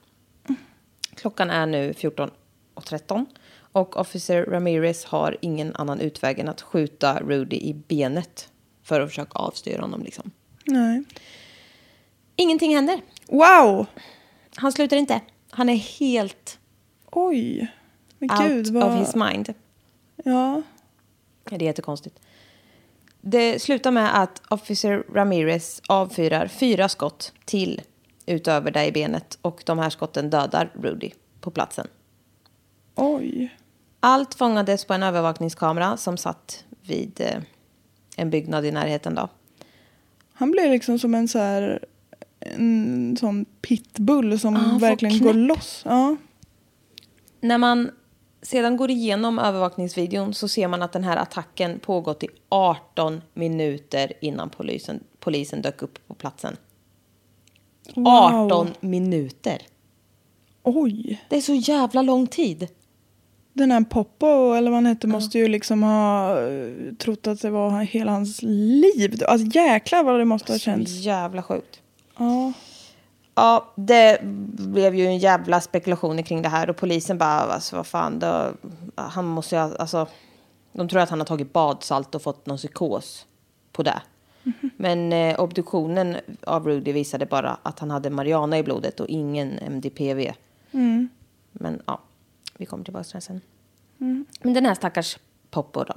S2: Klockan är nu 14.13 och officer Ramirez har ingen annan utväg än att skjuta Rudy i benet för att försöka avstyra honom. Liksom.
S3: Nej.
S2: Ingenting händer.
S3: Wow!
S2: Han slutar inte. Han är helt
S3: Oj. Men
S2: out
S3: gud vad...
S2: of his mind.
S3: Ja.
S2: Ja, Det är jättekonstigt. Det slutar med att officer Ramirez avfyrar fyra skott till utöver dig i benet och de här skotten dödar Rudy på platsen.
S3: Oj.
S2: Allt fångades på en övervakningskamera som satt vid eh, en byggnad i närheten. Då.
S3: Han blir liksom som en så här... En sån pitbull som
S2: Ja, han får
S3: verkligen går
S2: knäpp.
S3: loss. Ja.
S2: När man sedan går igenom övervakningsvideon så ser man att den här attacken pågått i 18 minuter innan polisen, polisen dök upp på platsen.
S3: Wow.
S2: 18 minuter!
S3: Oj.
S2: Det är så jävla lång tid.
S3: Den här Poppo, eller vad han hette, måste ju liksom ha eh, trott att det var hela hans liv. Alltså jäklar vad det måste ha
S2: Så
S3: känts.
S2: jävla sjukt.
S3: Ja.
S2: Ja, det blev ju en jävla spekulationer kring det här och polisen bara, alltså vad fan, då, han måste ju, ha- alltså, de tror att han har tagit badsalt och fått någon psykos på det. Men eh, obduktionen av Rudy visade bara att han hade marijuana i blodet och ingen MDPV. Men ja, vi kommer tillbaka till det sen. Men den här stackars Poppo då.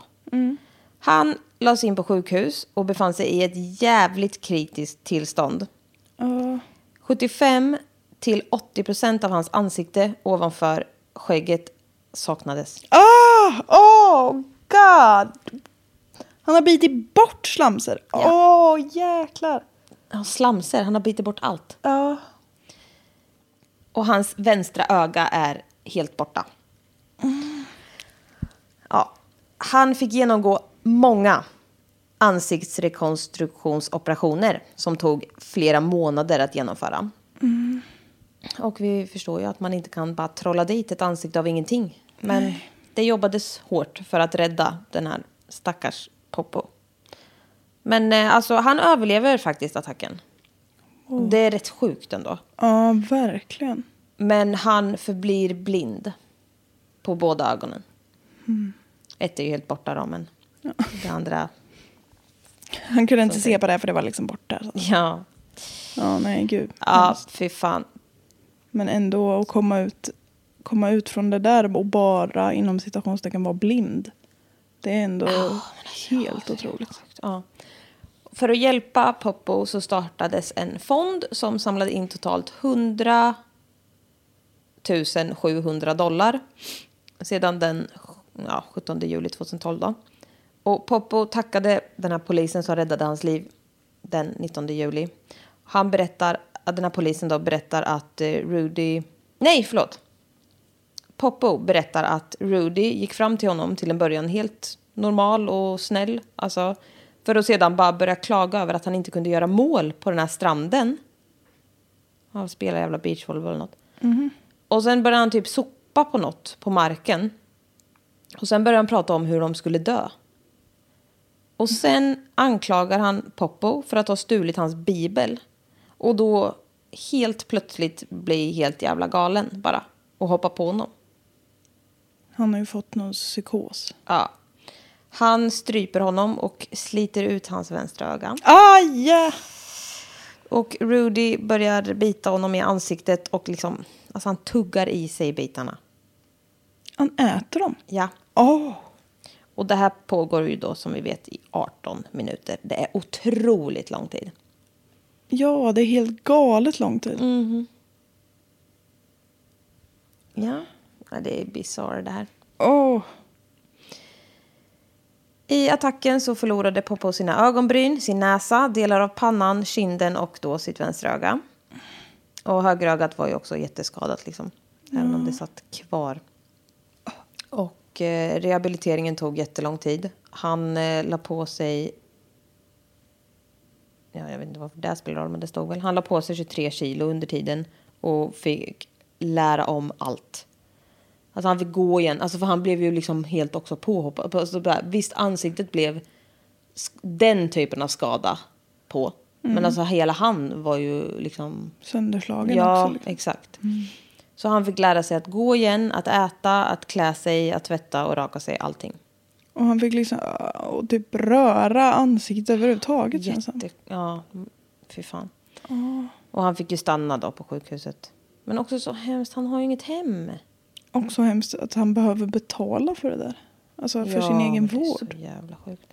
S2: Han lades in på sjukhus och befann sig i ett jävligt kritiskt tillstånd. 75 till 80 procent av hans ansikte ovanför skägget saknades.
S3: Ah, oh god! Han har bitit bort slamser. Åh, jäklar.
S2: Han slamser, han har bitit bort allt.
S3: Ja.
S2: Och hans vänstra öga är helt borta. Ja, han fick genomgå många ansiktsrekonstruktionsoperationer som tog flera månader att genomföra. Och vi förstår ju att man inte kan bara trolla dit ett ansikte av ingenting. Men det jobbades hårt för att rädda den här stackars Poppo. Men eh, alltså, han överlever faktiskt attacken. Det är rätt sjukt ändå.
S3: Ja, verkligen.
S2: Men han förblir blind på båda ögonen. Ett är ju helt borta då, men det andra...
S3: Han kunde inte se på det här för det var liksom borta. Ja,
S2: Ja,
S3: nej gud.
S2: ja fy fan.
S3: Men ändå att komma ut, komma ut från det där och bara inom citationstecken vara blind. Det är ändå helt otroligt.
S2: Ja. För att hjälpa Poppo så startades en fond som samlade in totalt 100 700 dollar sedan den ja, 17 juli 2012. Då. Och Poppo tackade den här polisen som räddade hans liv den 19 juli. Han berättar, att den här polisen då berättar att eh, Rudy... Nej, förlåt. Poppo berättar att Rudy gick fram till honom till en början helt normal och snäll. Alltså, för att sedan bara börja klaga över att han inte kunde göra mål på den här stranden. Han spelar jävla beachvolleyboll eller något. Och sen började han typ sopa på något på marken. Och sen började han prata om hur de skulle dö. Och sen anklagar han Poppo för att ha stulit hans bibel. Och då helt plötsligt blir helt jävla galen bara. Och hoppar på honom.
S3: Han har ju fått någon psykos.
S2: Ja. Han stryper honom och sliter ut hans vänstra öga.
S3: Aj! ja.
S2: Och Rudy börjar bita honom i ansiktet och liksom, alltså han tuggar i sig bitarna.
S3: Han äter dem.
S2: Ja.
S3: Åh!
S2: Och det här pågår ju då som vi vet i 18 minuter. Det är otroligt lång tid.
S3: Ja, det är helt galet lång tid.
S2: Mm. Ja, ja det är bisarr det här.
S3: Åh!
S2: I attacken så förlorade Popo sina ögonbryn, sin näsa, delar av pannan, kinden och då sitt vänstra öga. Och högerögat var ju också jätteskadat liksom. Även om det satt kvar. Och eh, rehabiliteringen tog jättelång tid. Han eh, la på sig... Ja, jag vet inte varför det här spelar roll, men det stod väl. Han la på sig 23 kilo under tiden och fick lära om allt. Alltså han fick gå igen. Alltså för han blev ju liksom helt också påhoppad. Alltså bara, visst, ansiktet blev sk- den typen av skada på.
S3: Mm.
S2: Men alltså hela han var ju liksom...
S3: Sönderslagen
S2: Ja,
S3: också. Liksom.
S2: exakt. Så han fick lära sig att gå igen, att äta, att klä sig, att tvätta och raka sig, allting.
S3: Och han fick liksom äh, och typ röra ansiktet överhuvudtaget känns det som.
S2: Jätte, ja, mm, fy fan. Och han fick ju stanna då på sjukhuset. Men också så hemskt, han har ju inget hem.
S3: Också hemskt att han behöver betala för det där. Alltså för sin egen
S2: det är
S3: vård.
S2: Så jävla sjukt.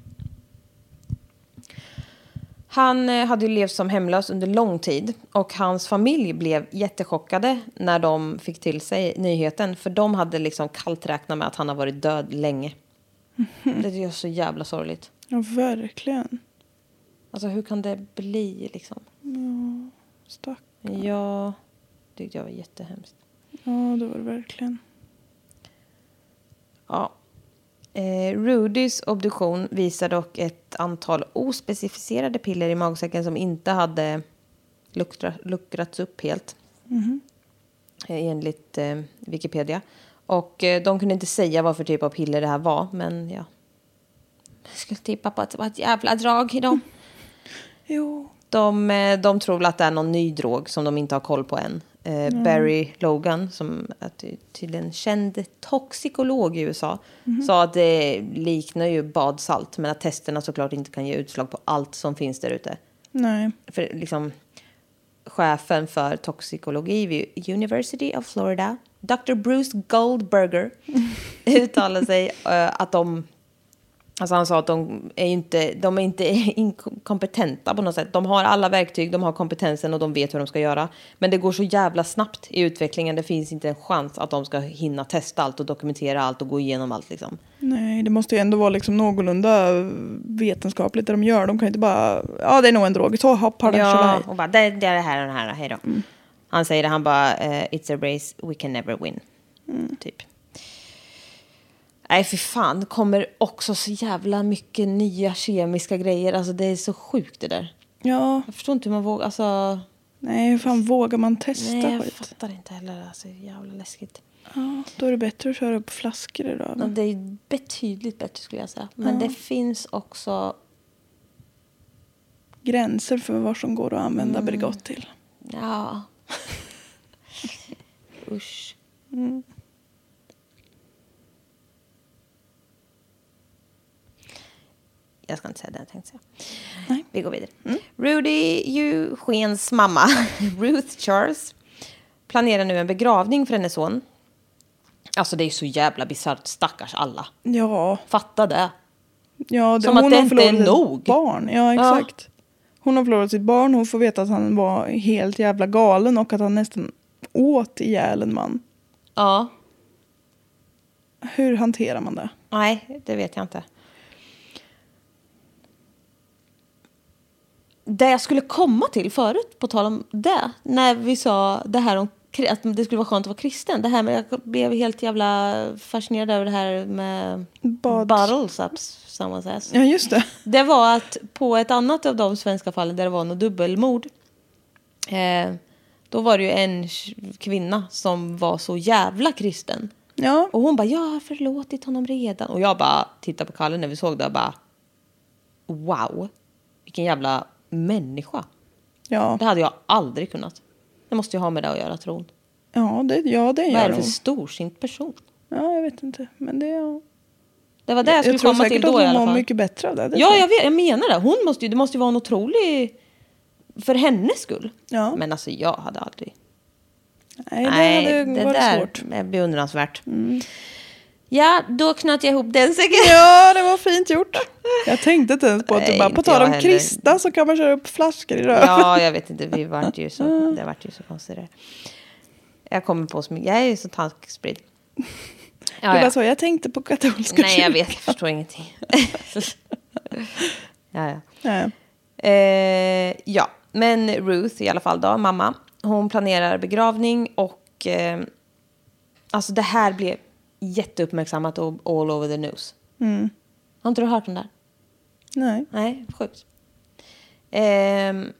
S2: Han eh, hade ju levt som hemlös under lång tid och hans familj blev jättechockade när de fick till sig nyheten för de hade liksom kallt räknat med att han har varit död länge. Det är ju så jävla sorgligt.
S3: Ja, verkligen.
S2: Alltså hur kan det bli liksom?
S3: Stack.
S2: Ja, det tyckte jag var jättehemskt.
S3: Ja, det var det verkligen.
S2: Ja. Eh, Rudys obduktion visar dock ett antal ospecificerade piller i magsäcken som inte hade luckra, luckrats upp helt. Eh, enligt eh, Wikipedia. Och eh, de kunde inte säga vad för typ av piller det här var, men ja. Jag skulle tippa på att det var ett jävla drag i dem.
S3: Jo.
S2: De, eh, de tror väl att det är någon ny drog som de inte har koll på än. Eh, Barry Logan, som är ty- tydligen känd toxikolog i USA, sa att det liknar ju badsalt, men att testerna såklart inte kan ge utslag på allt som finns där ute.
S3: Nej.
S2: För liksom, chefen för toxikologi vid University of Florida Dr. Bruce Goldberger uttalade sig eh, att de... Alltså han sa att de är ju inte, de är inte inkompetenta på något sätt. De har alla verktyg, de har kompetensen och de vet hur de ska göra. Men det går så jävla snabbt i utvecklingen. Det finns inte en chans att de ska hinna testa allt och dokumentera allt och gå igenom allt liksom.
S3: Nej, det måste ju ändå vara liksom någorlunda vetenskapligt det de gör. De kan ju inte bara, ja det är nog en drog, ta hopp har den
S2: Ja,
S3: ja.
S2: och bara det, det är det här och det här, hej då. Han säger det, han bara eh, it's a race we can never win. Typ. Nej, fy fan, det kommer också så jävla mycket nya kemiska grejer. Alltså det är så sjukt det där.
S3: ja,
S2: Jag förstår inte hur man vågar, alltså.
S3: nej hur fan vågar man testa
S2: Nej, jag
S3: skit?
S2: fattar inte heller. Alltså det är jävla läskigt.
S3: Ja, då är det bättre att köra upp flaskor idag.
S2: Ja, det är ju betydligt bättre skulle jag säga. Men det finns också,
S3: Gränser för vad som går att använda
S2: Mm.
S3: Bregott till.
S2: ja. Usch. Mm. Jag ska inte säga det jag tänkte säga.
S3: Nej.
S2: Vi går vidare. Rudy Eugens mamma, Ruth Charles, planerar nu en begravning för hennes son. Alltså det är ju så jävla bisarrt, stackars alla.
S3: Ja,
S2: Fatta det.
S3: ja
S2: Som att
S3: hon
S2: det
S3: har
S2: inte
S3: förlorat
S2: är
S3: sitt
S2: nog.
S3: barn. Ja,
S2: Ja.
S3: exakt. Hon har förlorat sitt barn, hon får veta att han var helt jävla galen och att han nästan åt ihjäl en man.
S2: Ja.
S3: Hur hanterar man det?
S2: Nej, det vet jag inte. Det jag skulle komma till förut, på tal om det, när vi sa det här om kri- att det skulle vara skönt att vara kristen. Det här med, jag blev helt jävla fascinerad över det här med
S3: Bad-
S2: bottles up someone's ass.
S3: Ja, just det.
S2: Det var att på ett annat av de svenska fallen där det var något dubbelmord. Eh, då var det ju en kvinna som var så jävla kristen.
S3: Ja,
S2: Och hon bara, jag har förlåtit honom redan. Och jag bara tittade på Kalle när vi såg det och bara, wow, vilken jävla människa.
S3: ja,
S2: Det hade jag aldrig kunnat. Det måste ju ha med det att göra, tron.
S3: ja, det, ja, det
S2: Vad är
S3: gör
S2: det för
S3: hon.
S2: storsint person?
S3: Ja, jag vet inte. Men det, ja.
S2: Det var det jag skulle
S3: tror
S2: komma till
S3: säkert att
S2: då i
S3: hon
S2: alla
S3: mår
S2: fall.
S3: mycket bättre av det. det
S2: Ja,
S3: tror
S2: jag, vet, jag menar det. Hon måste ju, det måste ju vara en otrolig... För hennes skull.
S3: Ja.
S2: Men alltså, jag hade aldrig...
S3: Nej, det hade ju varit
S2: där
S3: svårt. Mm.
S2: är beundransvärt. Ja, då knöt jag ihop den säkert.
S3: Ja, det var fint gjort. Jag tänkte inte ens på att du
S2: Nej,
S3: bara, på
S2: inte
S3: tal
S2: jag
S3: om
S2: heller.
S3: kristna så kan man köra upp flaskor i röven.
S2: Ja, jag vet inte. Vi vart ju så, det vart ju så konstigt. där. Jag kommer på så mycket. Jag är ju så tankspridd.
S3: det
S2: Ja,
S3: var
S2: ja.
S3: så, jag tänkte på katolska
S2: Nej, jag
S3: kyrkan.
S2: vet. Jag förstår ingenting. ja, ja.
S3: Nej.
S2: Eh, ja, men Ruth i alla fall då, mamma. Hon planerar begravning och eh, alltså det här blev jätteuppmärksammat och all over the news. Har inte du hört om det? här?
S3: mm. Nej.
S2: Nej, sjukt. Ehm,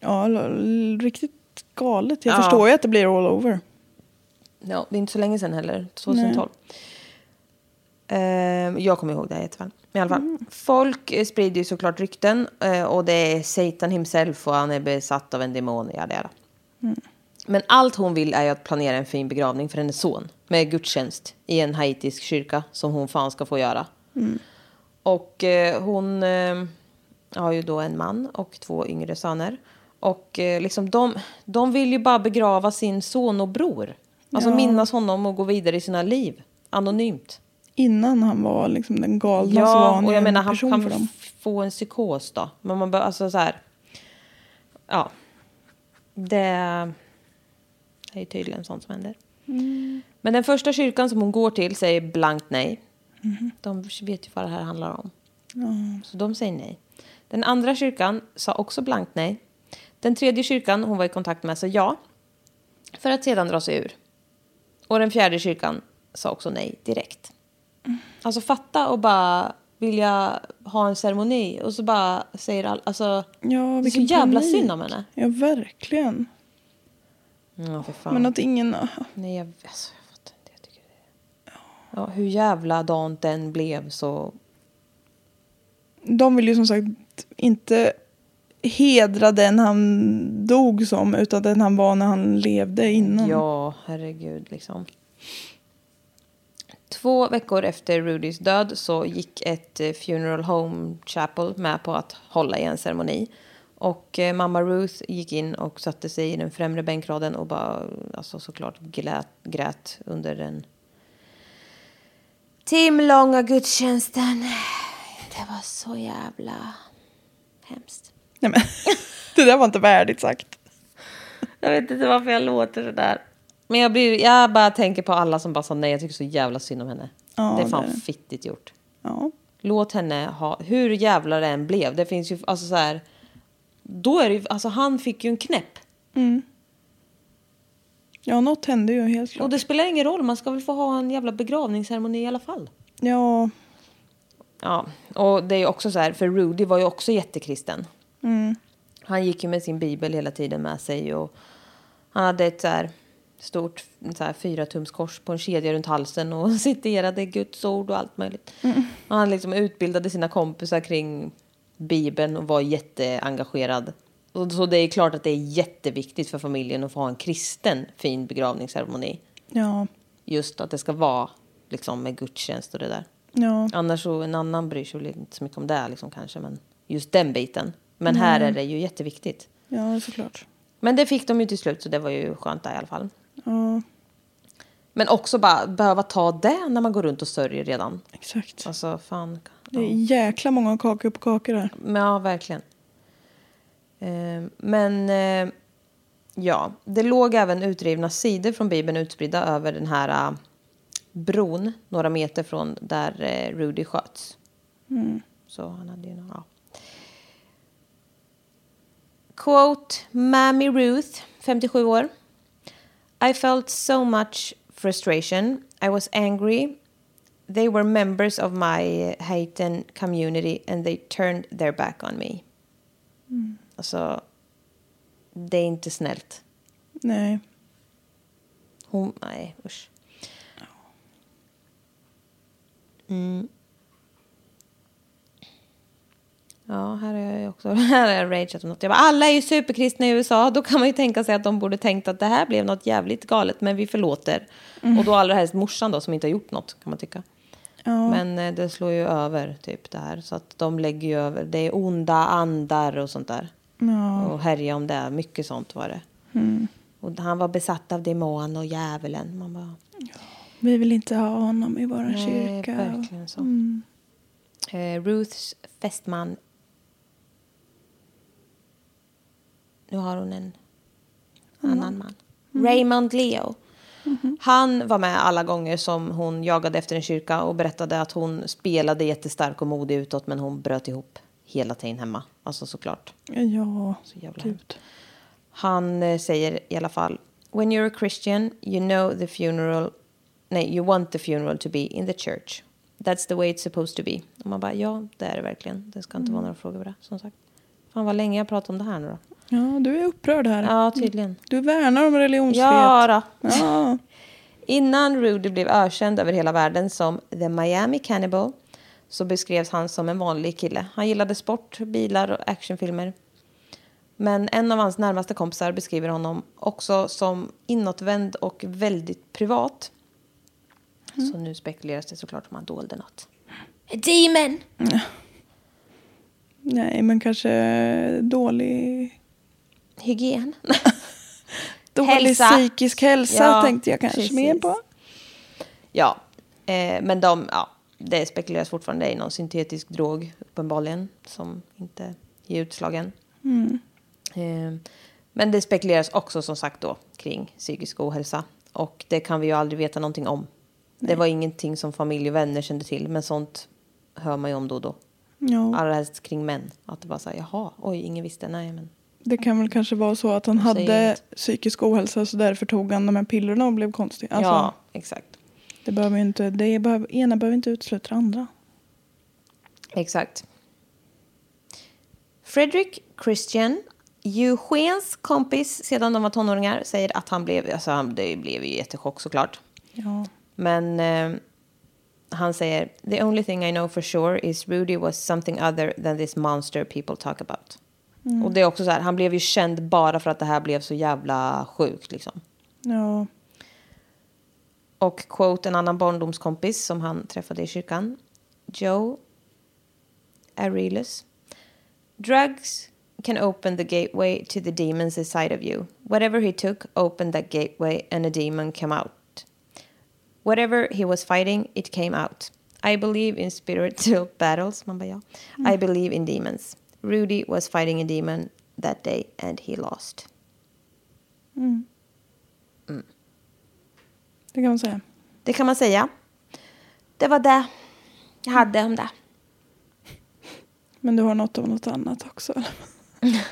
S3: Ja, l- l- riktigt galet. Jag
S2: Ja.
S3: förstår ju att det blir all over.
S2: Ja, det är inte så länge sedan heller, 2012. Ehm, jag kommer ihåg det här jätteväl. Men i alla fall, folk eh, sprider ju såklart rykten eh, och det är Satan himself och han är besatt av en demon. Ja, det är det. Men allt hon vill är ju att planera en fin begravning för hennes son med gudstjänst i en haitisk kyrka som hon fan ska få göra. Och eh, hon eh, har ju då en man och två yngre söner. Och eh, liksom de, de vill ju bara begrava sin son och bror. Alltså minnas honom och gå vidare i sina liv. Anonymt.
S3: Innan han var liksom den galna som var
S2: Ja,
S3: han
S2: och jag
S3: en
S2: menar han
S3: person
S2: kan
S3: för dem.
S2: f- få en psykos då. Men man bara, alltså så här. Ja. Det är ju tydligen sånt som händer.
S3: Mm.
S2: Men den första kyrkan som hon går till säger blankt nej.
S3: Mm-hmm.
S2: De vet ju vad det här handlar om. Så de säger nej. Den andra kyrkan sa också blankt nej. Den tredje kyrkan hon var i kontakt med sa ja. För att sedan dra sig ur. Och den fjärde kyrkan sa också nej direkt. Alltså fatta och bara vilja ha en ceremoni och så bara säger all, alltså
S3: Ja,
S2: det är så
S3: vilken
S2: jävla
S3: panik.
S2: synd om henne.
S3: Ja, verkligen.
S2: Ja, för fan.
S3: Men att ingen...
S2: Nej, jag, alltså, jag fattar inte. Jag tycker det. Ja, hur jävla dant den blev så.
S3: De vill ju som sagt inte hedra den han dog som utan den han var när han levde innan.
S2: Ja, herregud liksom. Två veckor efter Rudys död så gick ett eh, funeral home chapel med på att hålla i en ceremoni. Och eh, mamma Ruth gick in och satte sig i den främre bänkraden och bara alltså, såklart glät, grät under den timlånga gudstjänsten. Det var så jävla hemskt.
S3: Nej, men, det där var inte värdigt sagt.
S2: Jag vet inte varför jag låter sådär. Men jag, blir, jag bara tänker på alla som bara sa nej. Jag tycker så jävla synd om henne.
S3: Ja,
S2: det är fan
S3: det är det.
S2: fittigt gjort.
S3: Ja.
S2: Låt henne ha, hur jävlar det än blev. Det finns ju, alltså så här. Då är det ju, alltså han fick ju en knäpp.
S3: ja, något hände ju helt klart.
S2: Och det spelar ingen roll, man ska väl få ha en jävla begravningsceremoni i alla fall.
S3: Ja,
S2: Ja, och det är ju också så här, för Rudy var ju också jättekristen. Han gick ju med sin bibel hela tiden med sig och han hade ett så här stort så här, fyratumskors på en kedja runt halsen och citerade Guds ord och allt möjligt. Och han liksom utbildade sina kompisar kring bibeln och var jätteengagerad. Och så det är ju klart att det är jätteviktigt för familjen att få ha en kristen fin begravningsceremoni.
S3: ja,
S2: Just att det ska vara liksom med gudstjänst och det där.
S3: ja.
S2: Annars så en annan bryr sig väl inte så mycket om det liksom kanske, men just den biten. Men här är det ju jätteviktigt.
S3: Ja, såklart.
S2: Men det fick de ju till slut så det var ju skönt där i alla fall.
S3: Ja,
S2: Men också bara behöva ta det när man går runt och sörjer redan.
S3: exakt.
S2: Alltså fan.
S3: Det är jäkla många kakor på kakor här.
S2: Men, ja, verkligen. Eh, men eh, ja, det låg även utrivna sidor från Bibeln utspridda över den här eh, bron några meter från där eh, Rudy sköts. Så han hade ju några... Ja. Quote, Mammy Ruth, 57 år. I felt so much frustration. I was angry. They were members of my Haitian community and they turned their back on me. Alltså, det är inte snällt.
S3: Nej.
S2: Hon, nej, usch. Mm. Ja, här är jag ju också, här är jag rageat om något. Jag bara, alla är ju superkristna i USA, då kan man ju tänka sig att de borde tänkt att det här blev något jävligt galet, men vi förlåter. Och då allra helst morsan då, som inte har gjort något, kan man tycka.
S3: Ja.
S2: Men eh, det slår ju över, typ det här. Så att de lägger ju över, det är onda andar och sånt där.
S3: Ja.
S2: Och härja om det, mycket sånt var det. Och han var besatt av demonen och djävulen. Man bara,
S3: Vi vill inte ha honom i vår
S2: nej,
S3: kyrka.
S2: verkligen så. Eh, Ruths fästman. Nu har hon en annan man. Raymond Leo. Han var med alla gånger som hon jagade efter en kyrka och berättade att hon spelade jättestark och modig utåt men hon bröt ihop hela tiden hemma. Alltså såklart.
S3: Ja, typ.
S2: Så jävla
S3: gud.
S2: Han eh, säger i alla fall When you're a Christian you know the funeral Nej, you want the funeral to be in the church. That's the way it's supposed to be. Och man bara, ja, det är det verkligen. Det ska inte vara några frågor på det, som sagt. Fan vad länge jag pratar om det här nu då.
S3: Ja, du är upprörd här.
S2: Ja, tydligen.
S3: Du värnar om religionsfrihet.
S2: Ja, då.
S3: Ja.
S2: Innan Rudy blev ökänd över hela världen som The Miami Cannibal så beskrevs han som en vanlig kille. Han gillade sport, bilar och actionfilmer. Men en av hans närmaste kompisar beskriver honom också som inåtvänd och väldigt privat. Så nu spekuleras det såklart om han dolde något. A demon!
S3: Nej, men kanske dålig,
S2: Hygien.
S3: dålig
S2: Hälsa.
S3: psykisk hälsa
S2: Ja,
S3: tänkte jag kanske mer
S2: precis.
S3: på.
S2: Ja, eh, men de, ja, det spekuleras fortfarande i någon syntetisk drog uppenbarligen som inte ger utslagen. Eh, men det spekuleras också som sagt då kring psykisk ohälsa och det kan vi ju aldrig veta någonting om. Det var ingenting som familj och vänner kände till, men sånt hör man ju om då och då.
S3: Ja,
S2: Allra helst kring män. Att det bara säger jaha, oj, ingen visste, nej men.
S3: det kan väl kanske vara så att han
S2: säger
S3: hade
S2: inget.
S3: psykisk ohälsa så därför tog han de här pillerna och blev konstig. Alltså,
S2: ja, exakt.
S3: det, behöver ju inte, det behöver, ena behöver inte utesluta det andra.
S2: Exakt. Fredrik Christian, Eugens kompis sedan de var tonåringar, säger att han blev... Alltså han, det blev ju jättechock såklart.
S3: Ja.
S2: Men eh, han säger The only thing I know for sure is Rudy was something other than this monster people talk about. Och det är också så här, han blev ju känd bara för att det här blev så jävla sjukt liksom.
S3: Ja.
S2: Och quote en annan barndomskompis som han träffade i kyrkan. Joe Arilus. Drugs can open the gateway to the demons inside of you. Whatever he took opened that gateway, and a demon came out. Whatever he was fighting, it came out. I believe in spiritual battles, man bara, ja. I believe in demons. Rudy was fighting a demon that day, and he lost.
S3: Det kan man säga.
S2: Det kan man säga. Det var det jag hade om det.
S3: Men du har något om något annat också. eller?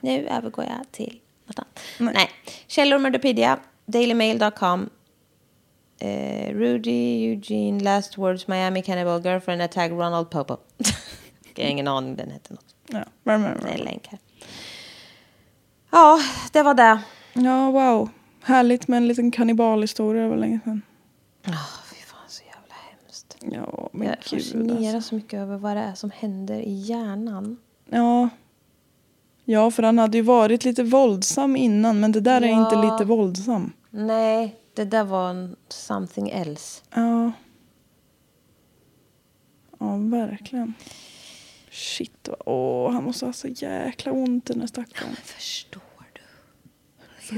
S2: Nu övergår jag till något annat. Nej. Källor Murderpedia, dailymail.com. Eh, Rudy, Eugene, Last Words, Miami Cannibal, Girlfriend Attack, Ronald Popo. jag har ingen aning, den hette något.
S3: Ja, värme,
S2: Det är en
S3: värme.
S2: länk här. Ja, det var det.
S3: ja, wow. Härligt med en liten kannibalhistoria. Det var länge sedan.
S2: Oh, fy fan, så jävla hemskt.
S3: Ja, men
S2: Jag
S3: gud alltså.
S2: fascineras så mycket över vad det är som händer i hjärnan.
S3: Ja. ja, för han hade ju varit lite våldsam innan. Men det där är
S2: Ja.
S3: inte lite våldsam.
S2: Nej, det där var en something else.
S3: Ja. Ja, verkligen. Shit, vad- åh, han måste ha så jäkla ont den där stackaren.
S2: Förstår du?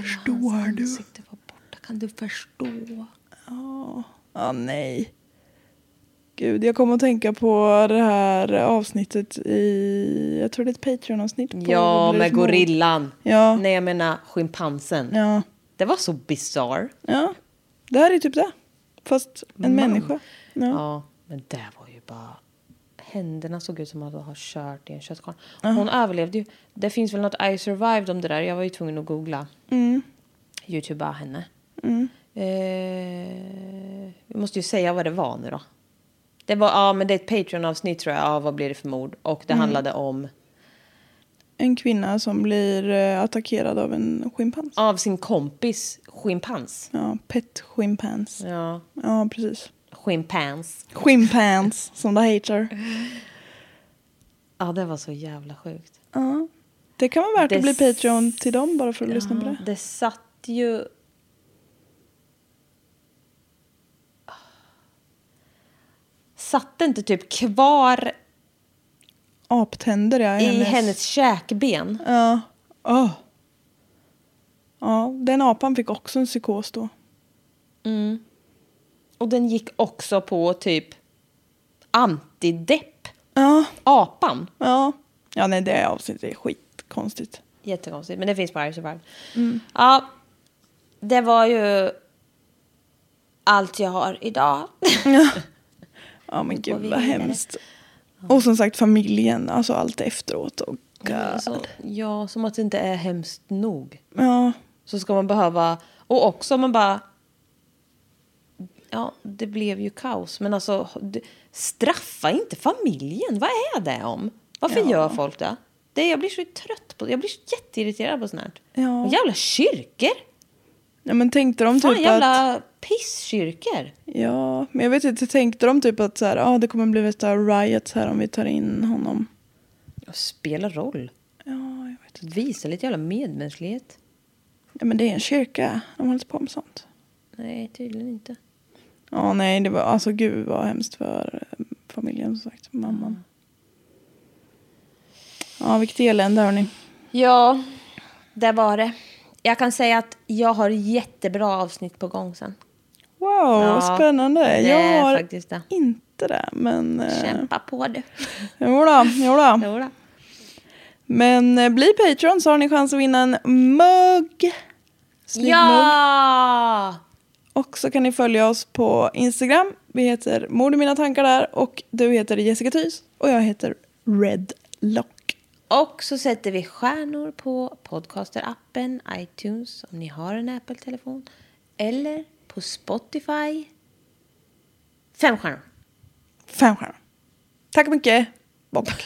S3: Förstår du?
S2: Ansikte var borta. Kan du förstå?
S3: Ja, nej. Gud, jag kommer att tänka på det här avsnittet i... Jag tror det är ett Patreon-avsnitt. på
S2: Ja,
S3: Blir det
S2: med
S3: för mord?
S2: gorillan.
S3: Ja.
S2: Nej, jag menar schimpansen.
S3: Ja.
S2: Det var så bizarr.
S3: ja. Det här är typ det. Fast
S2: Mm.
S3: en människa. Ja.
S2: Ja. men det var ju bara... Händerna såg ut som att de har kört i en köttkvarn. Hon överlevde ju. Det finns väl något I survived om det där. Jag var ju tvungen att googla. Youtuba henne. Eh, vi måste ju säga vad det var nu då. Det var, ja men det är ett Patreon-avsnitt tror jag. Ja, vad blir det för mord? Och det handlade om
S3: En kvinna som blir eh, attackerad av en schimpans.
S2: av sin kompis schimpans.
S3: Ja, pet schimpans.
S2: Ja,
S3: Ja, precis.
S2: schimpans.
S3: Schimpans, som det heter.
S2: Ja, det var så jävla sjukt.
S3: Ja. Det kan vara värt
S2: Det
S3: att bli
S2: s-
S3: Patreon till dem bara för att lyssna på det.
S2: Det satt ju... Satt det inte typ kvar
S3: Aptänder, ja.
S2: i hennes käkben?
S3: Ja. Åh. Ja, den apan fick också en psykos då.
S2: Och den gick också på typ antidepp.
S3: Ja.
S2: Apan.
S3: Ja. Ja, nej, det avsnittet är skitkonstigt.
S2: Jättekonstigt, men det finns på Irish Survival.
S3: Mm.
S2: Ja, det var ju allt jag har idag.
S3: Ja, men
S2: går
S3: gud
S2: vi
S3: vad
S2: vidare.
S3: hemskt. Och som sagt familjen, alltså allt efteråt. Och
S2: Alltså, ja, som att det inte är hemskt nog.
S3: ja,
S2: Så ska man behöva... Och också man bara... Ja, det blev ju kaos. Men alltså, d- straffa inte familjen. Vad är det om? Varför gör folk det? det? Jag blir så trött på Jag blir så jätteirriterad på sånt här.
S3: Ja.
S2: Och Jävla kyrkor!
S3: ja, men tänkte de
S2: Fan,
S3: typ att...
S2: jävla pisskyrkor.
S3: Ja, men jag vet inte, tänkte de typ att så här, ah, det kommer bli värsta riots här om vi tar in honom.
S2: Och Spelar roll.
S3: Ja, jag vet inte.
S2: Visa lite jävla medmänsklighet.
S3: Ja, men det är en kyrka, de håller inte på med sånt.
S2: Nej, tydligen inte.
S3: Ja, nej, det var alltså gud vad hemskt för eh, familjen som sagt, mamman. Ja, vilket elände hörni.
S2: Ja, det var det. Jag kan säga att jag har jättebra avsnitt på gång sen.
S3: Wow, vad spännande.
S2: det
S3: Jag
S2: är
S3: har
S2: faktiskt det.
S3: inte det, men... eh,
S2: Kämpa på du.
S3: Jodå, jodå.
S2: Jodå.
S3: Men eh, bli Patreon så har ni chans att vinna en mugg. Snygg mugg.
S2: Ja!
S3: Och så kan ni följa oss på Instagram. Vi heter Mord i mina tankar där och du heter Jessica Thys och jag heter Red Lock.
S2: Och så sätter vi stjärnor på podcasterappen iTunes om ni har en Apple-telefon. Eller på Spotify. Fem stjärnor.
S3: Fem stjärnor. Tack mycket. Bock.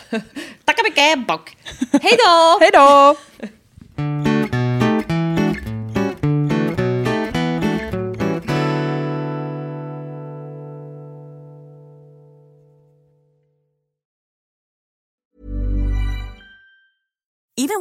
S2: Tackar mycket, bock! Hej då!
S3: Hej då!
S5: Even